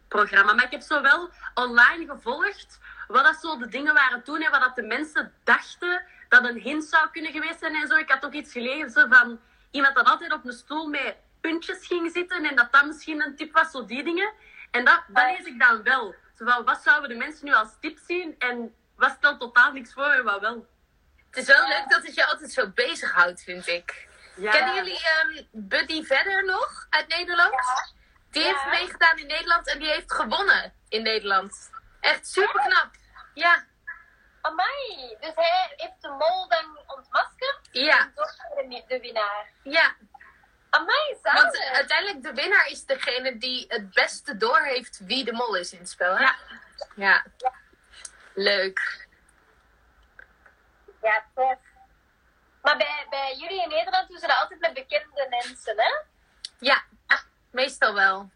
Speaker 3: programma. Maar ik heb zo wel online gevolgd wat dat zo de dingen waren toen en wat dat de mensen dachten dat een hint zou kunnen geweest zijn en zo. Ik had ook iets gelezen van iemand dat altijd op een stoel met puntjes ging zitten en dat dat misschien een tip was, zo die dingen. En dat, dat lees ik dan wel. Zo van, wat zouden de mensen nu als tip zien en wat stelt totaal niks voor en wat wel.
Speaker 1: Het is wel leuk dat het je altijd zo bezighoudt, vind ik.
Speaker 3: Ja.
Speaker 1: Kennen jullie ehm, Buddy Verder nog uit Nederland? Die heeft
Speaker 2: Ja.
Speaker 1: meegedaan in Nederland en die heeft gewonnen in Nederland. Echt super knap. Ja,
Speaker 2: amai. Dus hij heeft de mol dan ontmaskerd
Speaker 1: ja,
Speaker 2: en toch de, de winnaar.
Speaker 1: ja.
Speaker 2: Amai,
Speaker 1: Want eh,
Speaker 2: zalig.
Speaker 1: uiteindelijk de winnaar is degene die het beste door heeft wie de mol is in het spel. Hè?
Speaker 3: Ja.
Speaker 1: ja. Leuk.
Speaker 2: Ja, tof. Maar bij, bij jullie in Nederland doen ze dat altijd met bekende mensen, hè?
Speaker 1: Ja, meestal wel.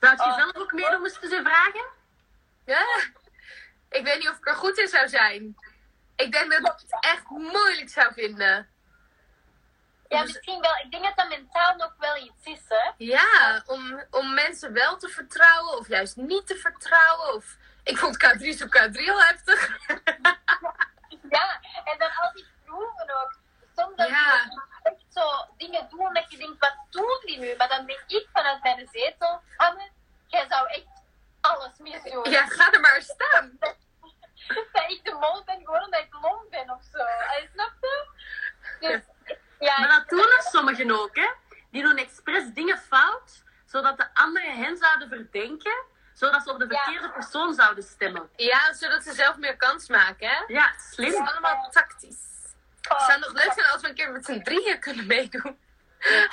Speaker 3: Zou je
Speaker 2: Oh.
Speaker 3: zelf ook meedoen, moesten ze vragen?
Speaker 1: Ja. Ik weet niet of ik er goed in zou zijn. Ik denk dat ik het echt moeilijk zou vinden.
Speaker 2: Ja,
Speaker 1: Dus-
Speaker 2: misschien wel. Ik denk dat dat mentaal nog wel iets is, hè?
Speaker 1: Ja, om, om mensen wel te vertrouwen of juist niet te vertrouwen. Of... Ik vond K3 zo K3 al heftig.
Speaker 2: Ja, en dan al die proeven ook. Soms dat
Speaker 1: Ja.
Speaker 2: die echt zo dingen doen dat je denkt, wat doen die nu? Maar dan denk ik vanuit mijn zetel, Anne, jij zou echt alles misdoen.
Speaker 1: Ja, ga er maar staan.
Speaker 2: Dat ik de mol ben geworden omdat ik lom ben of zo. Hij snap je? Dus, ja,
Speaker 3: Maar dat doen er sommigen ook, hè? Die doen expres dingen fout, zodat de anderen hen zouden verdenken, zodat ze op de
Speaker 2: Ja.
Speaker 3: verkeerde persoon zouden stemmen.
Speaker 1: Ja, zodat ze zelf meer kans maken, hè?
Speaker 3: Ja,
Speaker 1: Het
Speaker 3: slim.
Speaker 1: is allemaal tactisch.
Speaker 2: oh,
Speaker 1: Het zou nog leuk zijn als we een keer met z'n drieën kunnen meedoen.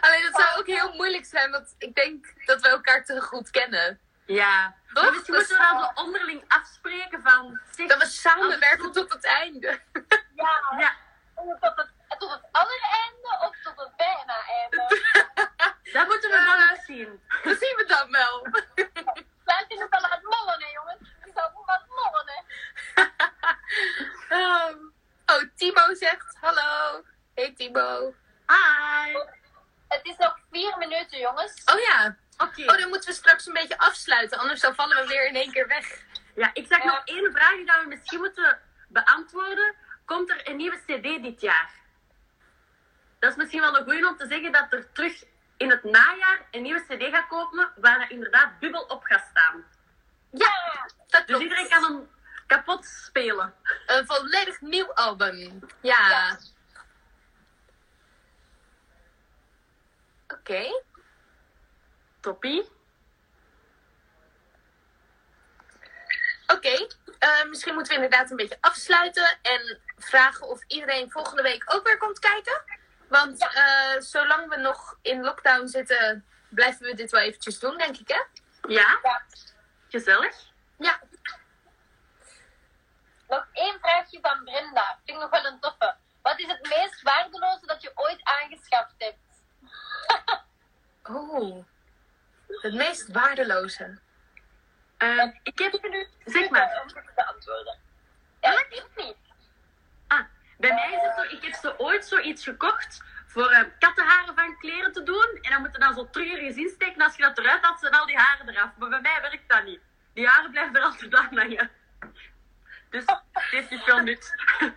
Speaker 1: Alleen dat zou ook heel moeilijk zijn, want ik denk dat we elkaar te goed kennen.
Speaker 3: Ja.
Speaker 1: Toch?
Speaker 3: Maar misschien moeten we dat zo onderling afspreken van... zeg,
Speaker 1: Dat we samenwerken tot het einde.
Speaker 2: ja.
Speaker 3: Ja,
Speaker 2: Tot het, tot het allereinde of tot het bijna einde.
Speaker 3: dat moeten we wel
Speaker 1: Eh.
Speaker 3: nog zien.
Speaker 1: Dat zien we dan wel.
Speaker 2: Wij kunnen wel aan het mollen, hè, jongens. Die gaan wel aan het mollen, hè.
Speaker 1: Ehm, oh, Timo zegt hallo. Hey Timo.
Speaker 3: Hi.
Speaker 2: Het is nog vier minuten, jongens.
Speaker 1: Oh ja.
Speaker 3: Oké.
Speaker 1: Oh, dan moeten we straks een beetje afsluiten, anders dan vallen we weer in één keer weg.
Speaker 3: Ja, ik zag
Speaker 2: Ja.
Speaker 3: nog één vraag die dat we misschien moeten beantwoorden. Komt er een nieuwe CD dit jaar? Dat is misschien wel een goeie om te zeggen dat er terug in het najaar een nieuwe CD gaat komen waar dat inderdaad bubbel op gaat staan.
Speaker 2: Ja!
Speaker 1: Dat
Speaker 3: Dus
Speaker 1: klopt.
Speaker 3: iedereen kan hem kapot spelen.
Speaker 1: Een volledig nieuw album. Ja.
Speaker 2: Ja.
Speaker 1: Oké.
Speaker 3: Toppie.
Speaker 1: Oké, eh, misschien moeten we inderdaad een beetje afsluiten en vragen of iedereen volgende week ook weer komt kijken. Want eh, zolang we nog in lockdown zitten, blijven we dit wel eventjes doen, denk ik, hè?
Speaker 3: Ja,
Speaker 2: ja.
Speaker 3: gezellig.
Speaker 1: Ja.
Speaker 2: Nog één vraagje van Brenda. Vind ik nog wel een toffe. Wat is het meest waardeloze dat je ooit aangeschaft hebt?
Speaker 1: Oh, het meest waardeloze.
Speaker 3: Eh, ik heb... Zeg maar.
Speaker 2: Om te beantwoorden. Ja, ik weet het niet.
Speaker 3: Ah, bij mij is het zo, ik heb zo ooit zoiets gekocht voor eh, kattenharen van kleren te doen. En dan moet je dan zo terug ergens insteken. En als je dat eruit had, zijn al die haren eraf. Maar bij mij werkt dat niet. Die haren blijven er altijd aan hangen. Dus het heeft niet veel nut.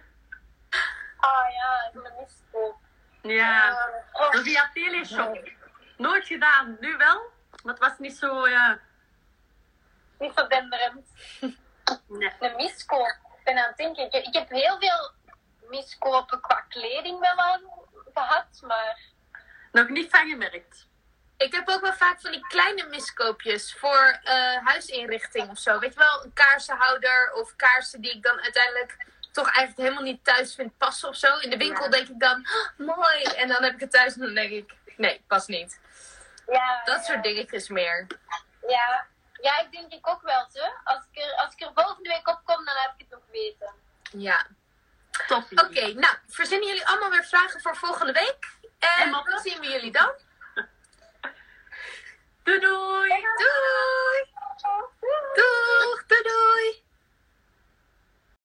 Speaker 2: Ah ja, dat is ook.
Speaker 3: ja,
Speaker 2: Eh, oh.
Speaker 3: dat is via teleshop. Nooit gedaan, nu wel. Maar het was niet zo, ja...
Speaker 2: Niet zo denderend.
Speaker 3: nee.
Speaker 2: Een miskoop. Ik ben aan het denken. Ik heb, ik heb heel veel miskopen qua kleding wel aan gehad, maar
Speaker 3: Nog niet van gemerkt.
Speaker 1: Ik heb ook wel vaak van die kleine miskoopjes voor eh, huisinrichting of zo. Weet je wel, een kaarsenhouder of kaarsen die ik dan uiteindelijk toch eigenlijk helemaal niet thuis vind passen of zo. In de winkel
Speaker 3: Ja.
Speaker 1: denk ik dan, "Oh, mooi. En dan heb ik het thuis en dan denk ik, nee, past niet.
Speaker 2: ja.
Speaker 1: Dat
Speaker 2: ja.
Speaker 1: soort dingetjes meer.
Speaker 2: Ja. ja, ik denk ik ook wel, zo. Als ik, er, als ik er volgende week op kom, dan heb ik het nog weten.
Speaker 1: Ja.
Speaker 3: Toppie.
Speaker 1: Oké, nou, verzinnen jullie allemaal weer vragen voor volgende week. En
Speaker 3: En mappen.
Speaker 1: dan zien we jullie dan.
Speaker 3: Doei doei!
Speaker 1: Doei!